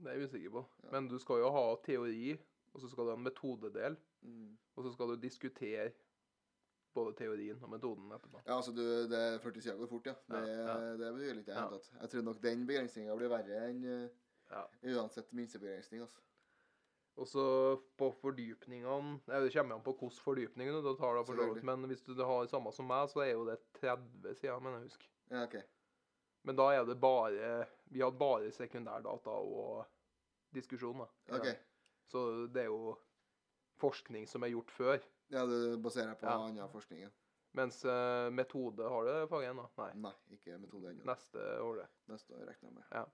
[SPEAKER 1] Det er jeg usikker på.
[SPEAKER 2] Ja.
[SPEAKER 1] Men du skal jo ha teori, og så skal du ha en metodedel.
[SPEAKER 2] Mm.
[SPEAKER 1] Og så skal du diskutere både teorien og metoden etterpå.
[SPEAKER 2] Ja, altså, du, det er 40 sider går fort, ja. Det,
[SPEAKER 1] Ja,
[SPEAKER 2] det betyr litt i det
[SPEAKER 1] Ja.
[SPEAKER 2] hele tatt. Jeg tror nok den begrensninga blir verre enn uh,
[SPEAKER 1] Ja.
[SPEAKER 2] uansett minstebegrensning, altså.
[SPEAKER 1] Og så på fordypningene Nei, Det kommer an på hvilke fordypninger du tar. da for så vidt.
[SPEAKER 2] Selvfølgelig.
[SPEAKER 1] Men hvis du har samme som meg, så er jo det 30 sider, mener jeg husker.
[SPEAKER 2] Ja, OK.
[SPEAKER 1] Men da er det bare Vi hadde bare sekundærdata og diskusjon, da.
[SPEAKER 2] Ok,
[SPEAKER 1] Så det er jo forskning som er gjort før.
[SPEAKER 2] ja, du baserer deg på
[SPEAKER 1] Ja.
[SPEAKER 2] annen forskning? Ja.
[SPEAKER 1] Mens eh, metode har det faget ennå. Nei.
[SPEAKER 2] Nei, ikke metode ennå.
[SPEAKER 1] Neste år, det.
[SPEAKER 2] Neste år regner jeg med.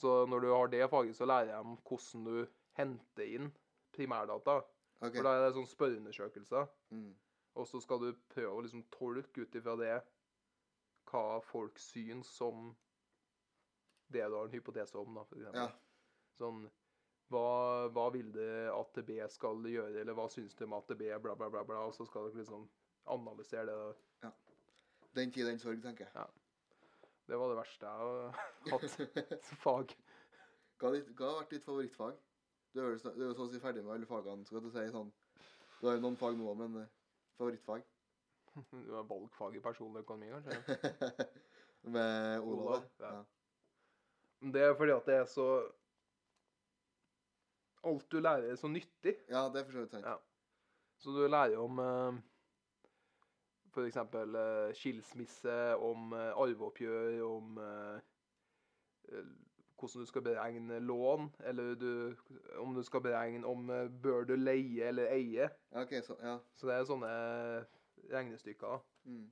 [SPEAKER 1] Så når du har det faget, så lærer jeg om hvordan du henter inn primærdata.
[SPEAKER 2] Ok,
[SPEAKER 1] For da er det sånn spørreundersøkelser.
[SPEAKER 2] mm.
[SPEAKER 1] Og så skal du prøve å liksom tolke ut ifra det hva folk syns som det du har en hypotese om, da, for eksempel.
[SPEAKER 2] Ja.
[SPEAKER 1] Sånn hva, hva vil det AtB skal gjøre, eller hva syns du om AtB, bla, bla, bla, bla. Og så skal dere liksom analysere det.
[SPEAKER 2] Den tid, den sorg, tenker jeg.
[SPEAKER 1] Det var det verste jeg har hatt
[SPEAKER 2] <laughs>
[SPEAKER 1] <laughs>
[SPEAKER 2] hva,
[SPEAKER 1] som fag.
[SPEAKER 2] er ditt, hva har vært ditt favorittfag? Du er, vel snak- du er jo så å si ferdig med alle fagene. Skal du si sånn Du har jo noen fag nå, men eh, favorittfag?
[SPEAKER 1] Det var Valgfag i personlig økonomi, kanskje.
[SPEAKER 2] <laughs> med Olav?
[SPEAKER 1] Olav,
[SPEAKER 2] da?
[SPEAKER 1] ja. Men Det er fordi at det er så Alt du lærer, er så nyttig.
[SPEAKER 2] ja. ja, det er for så vidt sant.
[SPEAKER 1] Ja. Så du lærer om eh, for eksempel eh, skilsmisse, om eh, arveoppgjør, om eh, eh, hvordan du skal beregne lån, eller du, om du skal beregne om eh, bør du leie eller eie.
[SPEAKER 2] Ja, OK, så Ja.
[SPEAKER 1] Så det er sånne regnestykker. da.
[SPEAKER 2] Mm.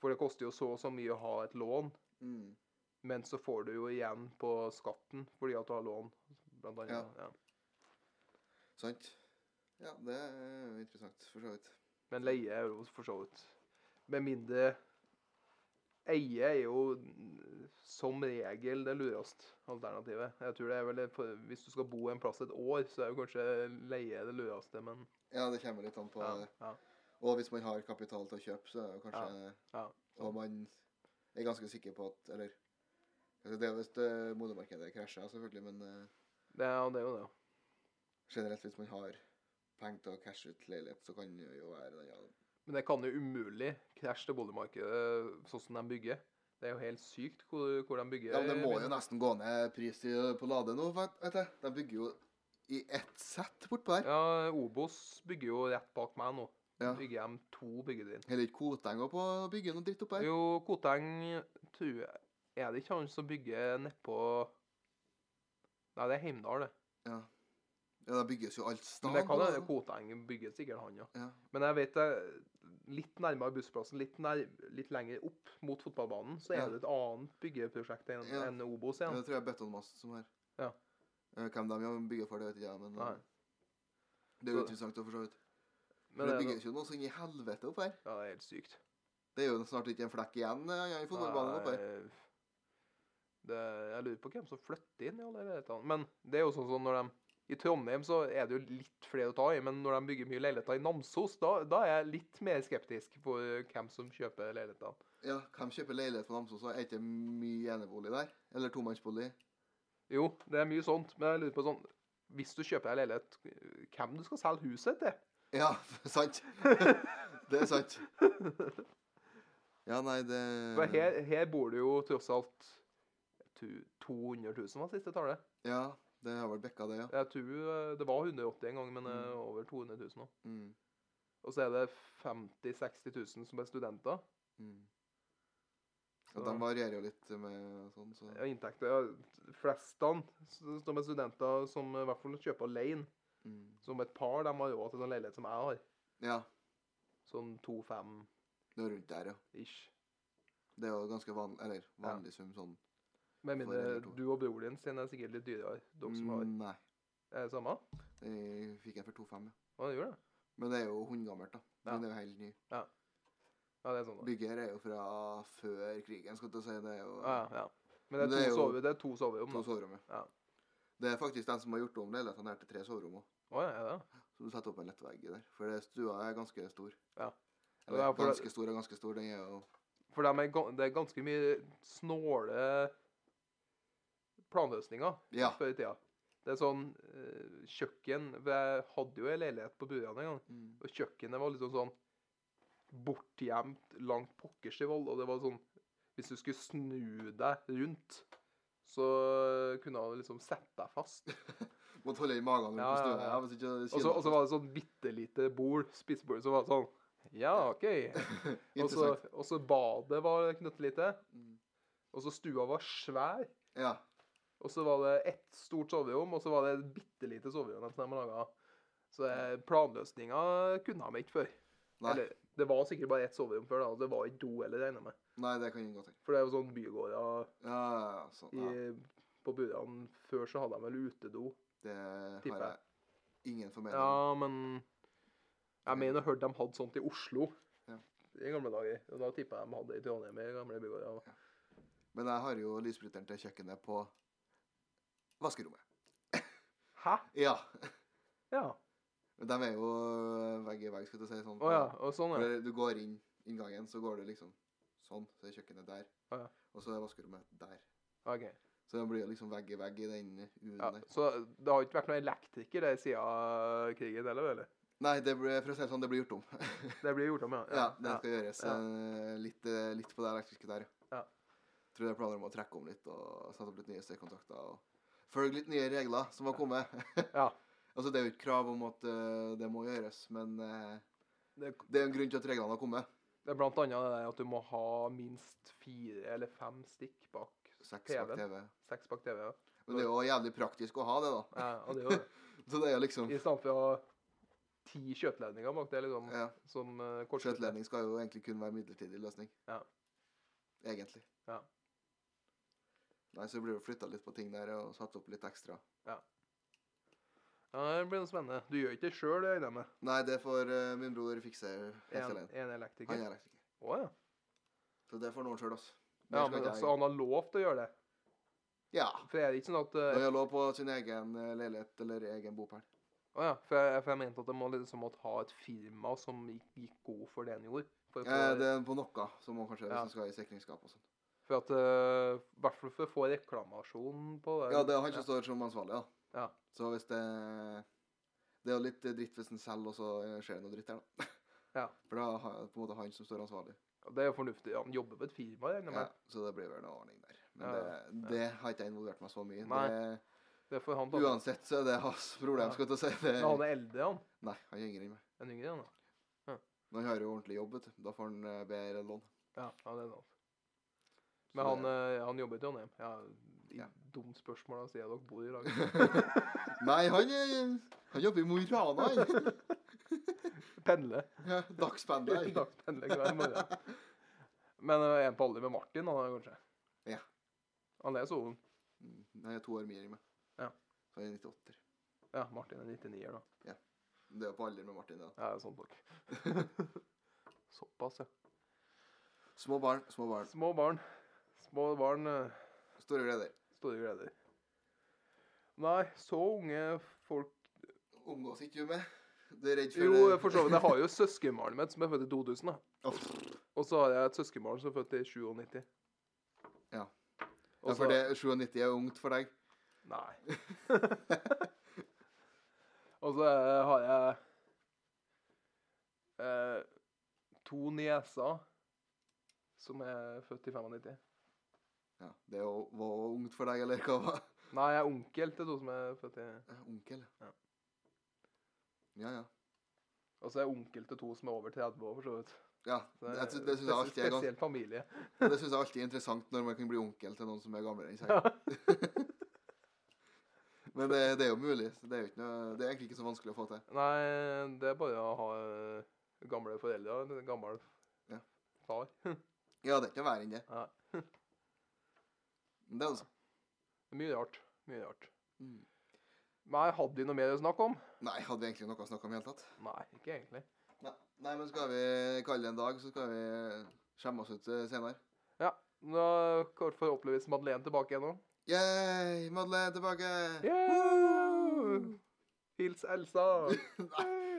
[SPEAKER 1] For det koster jo så og så mye å ha et lån,
[SPEAKER 2] Mm.
[SPEAKER 1] men så får du jo igjen på skatten fordi at du har lån, blant annet. Ja.
[SPEAKER 2] Sant. Ja, det er jo interessant, for så vidt.
[SPEAKER 1] Men leie er jo for så vidt Med mindre Eie er jo mm, som regel det lureste alternativet. Jeg tror det er vel det- for- Hvis du skal bo en plass et år, så er jo kanskje leie det lureste, men
[SPEAKER 2] Ja, det kommer litt an på
[SPEAKER 1] ja,
[SPEAKER 2] det.
[SPEAKER 1] ja.
[SPEAKER 2] Og hvis man har kapital til å kjøpe, så er det jo kanskje
[SPEAKER 1] ja,
[SPEAKER 2] Og man er ganske sikker på at Eller altså, det er hvis eh, modemarkedet krasjer, selvfølgelig, men eh,
[SPEAKER 1] Det, er- det er jo det.
[SPEAKER 2] generelt hvis man har penger til å cashe ut leilighet, så kan det jo være den, ja.
[SPEAKER 1] Men det kan jo umulig krasje til boligmarkedet sånn som de bygger. Det er jo helt sykt hvor, hvor de bygger.
[SPEAKER 2] ja, men det må jo
[SPEAKER 1] men-
[SPEAKER 2] nesten gå ned pris i, eh, på Lade nå, vet vet jeg. De bygger jo i ett sett bortpå der.
[SPEAKER 1] Ja, Obos bygger jo rett bak meg nå.
[SPEAKER 2] Ja.
[SPEAKER 1] Bygger de to byggetrinn.
[SPEAKER 2] Heller ikke Koteng på å bygge noe dritt opp her.
[SPEAKER 1] Jo, Koteng tror jeg Er det ikke han som bygger nedpå Nei, det er Heimdal, det.
[SPEAKER 2] Ja, det bygges jo alt
[SPEAKER 1] Men
[SPEAKER 2] stand.
[SPEAKER 1] det kan
[SPEAKER 2] på
[SPEAKER 1] hende
[SPEAKER 2] Lade.
[SPEAKER 1] Koteng bygger sikkert han, ja.
[SPEAKER 2] Ja.
[SPEAKER 1] Men jeg vet det Litt nærmere bussplassen, litt, nær, litt lenger opp mot fotballbanen, så er
[SPEAKER 2] Ja.
[SPEAKER 1] det et annet byggeprosjekt enn
[SPEAKER 2] Ja.
[SPEAKER 1] enn Obos
[SPEAKER 2] Ja,
[SPEAKER 1] igjen.
[SPEAKER 2] Det tror jeg er Betonmast som har.
[SPEAKER 1] Ja.
[SPEAKER 2] Eh, Hvem de bygger for, det vet ikke jeg, men eh,
[SPEAKER 1] Nei.
[SPEAKER 2] det er jo
[SPEAKER 1] Så-
[SPEAKER 2] interessant å for så vidt.
[SPEAKER 1] Men
[SPEAKER 2] Men det
[SPEAKER 1] det er,
[SPEAKER 2] bygges
[SPEAKER 1] noe-
[SPEAKER 2] jo noe sånn i helvete opp her.
[SPEAKER 1] ja, det er helt sykt.
[SPEAKER 2] Det er jo snart ikke en flekk igjen eh, i fotballbanen oppe her.
[SPEAKER 1] Nei, Det, jeg lurer på hvem som flytter inn i alle leilighetene. Men det er jo sånn som når de I Trondheim så er det jo litt flere å ta i, men når de bygger mye leiligheter i Namsos, da, da er jeg litt mer skeptisk for hvem som kjøper leilighetene.
[SPEAKER 2] Ja, hvem kjøper leilighet på Namsos? Er det ikke mye enebolig der? Eller tomannsbolig?
[SPEAKER 1] Jo, det er mye sånt, men jeg lurer på sånn Hvis du kjøper en leilighet, hvem du skal selge huset til?
[SPEAKER 2] Ja, <laughs> sant. det er sant. Ja, nei, det
[SPEAKER 1] For her, her bor det jo tross alt tu- 200 000 var siste tallet.
[SPEAKER 2] Ja, det har vel bekka det, ja.
[SPEAKER 1] Jeg tror eh, det var 180 en gang, men eh,
[SPEAKER 2] Mm.
[SPEAKER 1] over 200 000 nå.
[SPEAKER 2] Mm.
[SPEAKER 1] Og så er det 50 000-60 000 som er studenter.
[SPEAKER 2] Mm.
[SPEAKER 1] Så-
[SPEAKER 2] Og de varierer jo litt med sånn, så
[SPEAKER 1] Ja, inntekter ja, Flestene s- som er studenter som eh, i hvert fall kjøper alene.
[SPEAKER 2] mm.
[SPEAKER 1] Som et par de har råd til sånn leilighet som jeg har.
[SPEAKER 2] Ja,
[SPEAKER 1] Sånn 2-5-ish.
[SPEAKER 2] det er rundt der, ja. Det er jo ganske van eller, vanlig sum sånn.
[SPEAKER 1] Med mindre
[SPEAKER 2] Foreldre to.
[SPEAKER 1] du og broren din sin er sikkert litt dyrere, dere som har
[SPEAKER 2] Mm, Nei.
[SPEAKER 1] er det samme.
[SPEAKER 2] Den fikk jeg for 2,5, ja.
[SPEAKER 1] Hva gjør det?
[SPEAKER 2] Men det er jo hundegammelt, da.
[SPEAKER 1] Ja.
[SPEAKER 2] Den er jo helt ny.
[SPEAKER 1] Ja, det er sånn. da.
[SPEAKER 2] Bygget her er jo fra før krigen, skal jeg si. Det er jo
[SPEAKER 1] Ja, ja. Men det
[SPEAKER 2] Men
[SPEAKER 1] er,
[SPEAKER 2] det er
[SPEAKER 1] to,
[SPEAKER 2] jo-
[SPEAKER 1] sove, det er to soverom.
[SPEAKER 2] to
[SPEAKER 1] da.
[SPEAKER 2] soverom, ja.
[SPEAKER 1] Ja.
[SPEAKER 2] Det er faktisk den som har gjort om leilighetene her til tre soverom òg.
[SPEAKER 1] Å, ja, ja. ja.
[SPEAKER 2] Så du setter opp en lettvegg der. For det- stua er ganske stor.
[SPEAKER 1] Ja.
[SPEAKER 2] Eller
[SPEAKER 1] Ja, for det-
[SPEAKER 2] ganske stor og ganske stor. Den er jo
[SPEAKER 1] For dem er, gan- det er ganske mye snåle planløsninger
[SPEAKER 2] Ja.
[SPEAKER 1] før i tida. Det er sånn eh, Kjøkken Jeg hadde jo en leilighet på Burian en gang.
[SPEAKER 2] Mm.
[SPEAKER 1] Og kjøkkenet var liksom sånn bortgjemt langt pokkers i vold. Og det var sånn Hvis du skulle snu deg rundt, så kunne han liksom sette deg
[SPEAKER 2] <laughs>
[SPEAKER 1] fast.
[SPEAKER 2] Måtte holde i magen rundt
[SPEAKER 1] Ja,
[SPEAKER 2] på
[SPEAKER 1] ja,
[SPEAKER 2] stua.
[SPEAKER 1] ja.
[SPEAKER 2] Ja, hvis ikke
[SPEAKER 1] Og så og så var det sånn bitte lite bord, spisebord, som var sånn Ja, OK. <laughs> Og så,
[SPEAKER 2] Interessant.
[SPEAKER 1] og så badet var knøttlite.
[SPEAKER 2] Mm.
[SPEAKER 1] Og så stua var svær.
[SPEAKER 2] Ja.
[SPEAKER 1] Og så var det ett stort soverom, og så var det et bitte lite soverom som de laga. Så eh, planløsninga kunne de ikke før.
[SPEAKER 2] Nei.
[SPEAKER 1] Eller, det var sikkert bare ett soverom før, da, og det var ikke do heller, regner jeg med.
[SPEAKER 2] Nei, det kan jeg godt tenke.
[SPEAKER 1] For det er jo sånn bygårder
[SPEAKER 2] Ja, ja, ja, sånn,
[SPEAKER 1] i,
[SPEAKER 2] ja.
[SPEAKER 1] på budene. Før så hadde de vel utedo.
[SPEAKER 2] Det
[SPEAKER 1] tipper
[SPEAKER 2] har
[SPEAKER 1] jeg.
[SPEAKER 2] jeg ingen formening om.
[SPEAKER 1] Ja, men Jeg mener jeg hørte de hadde sånt i Oslo
[SPEAKER 2] Ja.
[SPEAKER 1] i gamle dager. Og da tippa jeg de hadde det i Trondheim i gamle bygårder.
[SPEAKER 2] Men jeg har jo lysbryteren til kjøkkenet på vaskerommet.
[SPEAKER 1] Hæ?
[SPEAKER 2] Ja.
[SPEAKER 1] Ja.
[SPEAKER 2] Men de er jo eh, vegg i vegg, skal du si. sånn.
[SPEAKER 1] Å ja. Og sånn, ja.
[SPEAKER 2] For du går inn inngangen, så går du liksom sånn. Så er kjøkkenet der.
[SPEAKER 1] Å ja.
[SPEAKER 2] Og så er vaskerommet der.
[SPEAKER 1] Ok.
[SPEAKER 2] Så det blir jo liksom vegg i vegg i den uen
[SPEAKER 1] Ja,
[SPEAKER 2] der.
[SPEAKER 1] så det har ikke vært noen elektriker der siden krigen heller, eller?
[SPEAKER 2] Nei, det ble, for å si det sånn, det blir gjort om. <laughs>
[SPEAKER 1] Det blir gjort om, ja.
[SPEAKER 2] ja, det skal gjøres
[SPEAKER 1] ja.
[SPEAKER 2] eh, litt, eh, litt på det elektriske der,
[SPEAKER 1] Ja.
[SPEAKER 2] Tror jeg planer om å trekke om litt og sette opp litt nye støykontakter. Og følge litt nye regler som har kommet. <laughs>
[SPEAKER 1] Ja.
[SPEAKER 2] altså, det er jo ikke krav om at eh, det må gjøres, men eh,
[SPEAKER 1] Det,
[SPEAKER 2] det er jo en grunn til at reglene har kommet.
[SPEAKER 1] det er blant annet det der at du må ha minst fire eller fem stikk bak
[SPEAKER 2] Seks
[SPEAKER 1] TV-en.
[SPEAKER 2] bak TV.
[SPEAKER 1] seks bak TV. Ja.
[SPEAKER 2] Men det er jo jævlig praktisk å ha det, da.
[SPEAKER 1] Ja, og det er jo
[SPEAKER 2] <laughs>
[SPEAKER 1] det.
[SPEAKER 2] Så det er jo liksom
[SPEAKER 1] I stedet for å ha ti kjøttledninger bak det, liksom.
[SPEAKER 2] ja,
[SPEAKER 1] Som uh, kortslutning.
[SPEAKER 2] Skjøteledning skal jo egentlig kun være en midlertidig løsning.
[SPEAKER 1] Ja.
[SPEAKER 2] Egentlig.
[SPEAKER 1] Ja.
[SPEAKER 2] Nei, så blir det flytta litt på ting der og satt opp litt ekstra.
[SPEAKER 1] Ja, det blir noe spennende. Du gjør ikke det sjøl, regner jeg med?
[SPEAKER 2] Nei, det får eh, min bror fikse helt
[SPEAKER 1] En,
[SPEAKER 2] alene.
[SPEAKER 1] en
[SPEAKER 2] Han
[SPEAKER 1] elektriker?
[SPEAKER 2] er elektriker.
[SPEAKER 1] Å ja.
[SPEAKER 2] Så det får noen sjøl, altså. Det
[SPEAKER 1] ja
[SPEAKER 2] skal
[SPEAKER 1] men
[SPEAKER 2] ikke
[SPEAKER 1] altså,
[SPEAKER 2] jeg.
[SPEAKER 1] han har lov til å gjøre det?
[SPEAKER 2] Ja.
[SPEAKER 1] For er det ikke sånn at
[SPEAKER 2] Det
[SPEAKER 1] eh,
[SPEAKER 2] gjelder også på sin egen eh, leilighet eller egen bopel.
[SPEAKER 1] Å ja. For jeg, for jeg mente at de må liksom måtte ha et firma som gikk, gikk god for det han gjorde. For,
[SPEAKER 2] Eh,
[SPEAKER 1] for,
[SPEAKER 2] det er på noe som man kanskje
[SPEAKER 1] Ja.
[SPEAKER 2] hvis man skal i sikringsskap og sånn.
[SPEAKER 1] for at eh, I hvert fall for å få reklamasjon på det.
[SPEAKER 2] Ja, det er han som står som ansvarlig, da.
[SPEAKER 1] Ja.
[SPEAKER 2] Så hvis det Det er jo litt dritt hvis en selger, og så eh, skjer det noe dritt der, da.
[SPEAKER 1] Ja.
[SPEAKER 2] <laughs> For da er han- på en måte han som står ansvarlig.
[SPEAKER 1] Ja, Det er jo fornuftig. Han jobber på et firma, regner jeg
[SPEAKER 2] Ja,
[SPEAKER 1] med.
[SPEAKER 2] så det blir vel noe ordning der. Men
[SPEAKER 1] Ja,
[SPEAKER 2] det, det har ikke jeg involvert meg så mye i.
[SPEAKER 1] Nei.
[SPEAKER 2] Det-
[SPEAKER 1] Det får han ta.
[SPEAKER 2] Uansett så er det hans problem,
[SPEAKER 1] Ja.
[SPEAKER 2] skal jeg til å si. Det,
[SPEAKER 1] Men han er eldre, han.
[SPEAKER 2] Nei, han er yngre enn meg.
[SPEAKER 1] En yngre, han. da.
[SPEAKER 2] Men han har jo ordentlig jobb, vet du. Da får han eh, bedre lån.
[SPEAKER 1] Ja, ja, det er sant.
[SPEAKER 2] Så
[SPEAKER 1] Men
[SPEAKER 2] det-
[SPEAKER 1] han, eh, han jobber i Trondheim. Ja, i
[SPEAKER 2] Ja.
[SPEAKER 1] Dumt spørsmål å si at dere bor i lag. eh,
[SPEAKER 2] <laughs> Nei, han, er- han jobber i Mo i Rana, han.
[SPEAKER 1] <laughs> <laughs>
[SPEAKER 2] <laughs>
[SPEAKER 1] Pendler.
[SPEAKER 2] Ja,
[SPEAKER 1] <laughs>
[SPEAKER 2] Dagspendler.
[SPEAKER 1] Dagspendler hver morgen. Men eh, en på alder med Martin, han er kanskje?
[SPEAKER 2] Ja.
[SPEAKER 1] Han er så ung.
[SPEAKER 2] Mm, Han er to år mer enn meg.
[SPEAKER 1] Ja.
[SPEAKER 2] Så han er 98.
[SPEAKER 1] Ja, Martin er 99 da.
[SPEAKER 2] Ja. Det er på alder med Martin. da.
[SPEAKER 1] Ja, det er sånn
[SPEAKER 2] <laughs>
[SPEAKER 1] folk. Såpass, ja.
[SPEAKER 2] Små barn, små barn.
[SPEAKER 1] Små barn. Små barn, eh,
[SPEAKER 2] Store gleder.
[SPEAKER 1] store gleder. Nei, så unge folk
[SPEAKER 2] Omgås ikke du med? Du er redd for
[SPEAKER 1] Jo, for så vidt. Jeg har jo søskenbarnet mitt som er født i 2000, da.
[SPEAKER 2] <laughs> Uff.
[SPEAKER 1] Og så har jeg et søskenbarn som er født i 97.
[SPEAKER 2] Ja.
[SPEAKER 1] Og
[SPEAKER 2] Ja,
[SPEAKER 1] så,
[SPEAKER 2] for det, 97 er ungt for deg.
[SPEAKER 1] Nei. <laughs> og så eh, har jeg eh, to nieser som er født i 95.
[SPEAKER 2] Ja, Det er jo- var jo ungt for deg, eller hva? var det?
[SPEAKER 1] Nei, jeg er onkel til to som er født i
[SPEAKER 2] Eh, Onkel.
[SPEAKER 1] Ja.
[SPEAKER 2] Ja, ja.
[SPEAKER 1] Og så er jeg onkel til to som er over 30 år, for så vidt.
[SPEAKER 2] ja
[SPEAKER 1] Så er
[SPEAKER 2] det sy- det syns jeg
[SPEAKER 1] spes-
[SPEAKER 2] alltid er gans-
[SPEAKER 1] Spesiell familie.
[SPEAKER 2] det synes jeg alltid er interessant når man kan bli onkel til noen som er gamlere enn seg.
[SPEAKER 1] Ja.
[SPEAKER 2] Men det, det er jo mulig. så Det er, jo ikke noe, det er egentlig ikke så vanskelig å få til.
[SPEAKER 1] Nei, det er bare å ha eh, gamle foreldre og en gammel
[SPEAKER 2] Ja.
[SPEAKER 1] far. <laughs>
[SPEAKER 2] Ja, det er ikke noe verre enn det.
[SPEAKER 1] Nei.
[SPEAKER 2] Men det er altså.
[SPEAKER 1] Mye rart. Mye rart.
[SPEAKER 2] Mm.
[SPEAKER 1] Nei, hadde vi noe mer å snakke om?
[SPEAKER 2] Nei, hadde vi egentlig noe å snakke om i det hele tatt?
[SPEAKER 1] Nei, ikke egentlig.
[SPEAKER 2] Nei, Nei, men skal vi kalle det en dag, så skal vi skjemme oss ut eh, senere.
[SPEAKER 1] Ja, da kommer forhåpentligvis Madeleine tilbake igjen nå.
[SPEAKER 2] Yeah, Madeleine er tilbake!
[SPEAKER 1] Yeah! Hils Elsa!
[SPEAKER 2] Nei,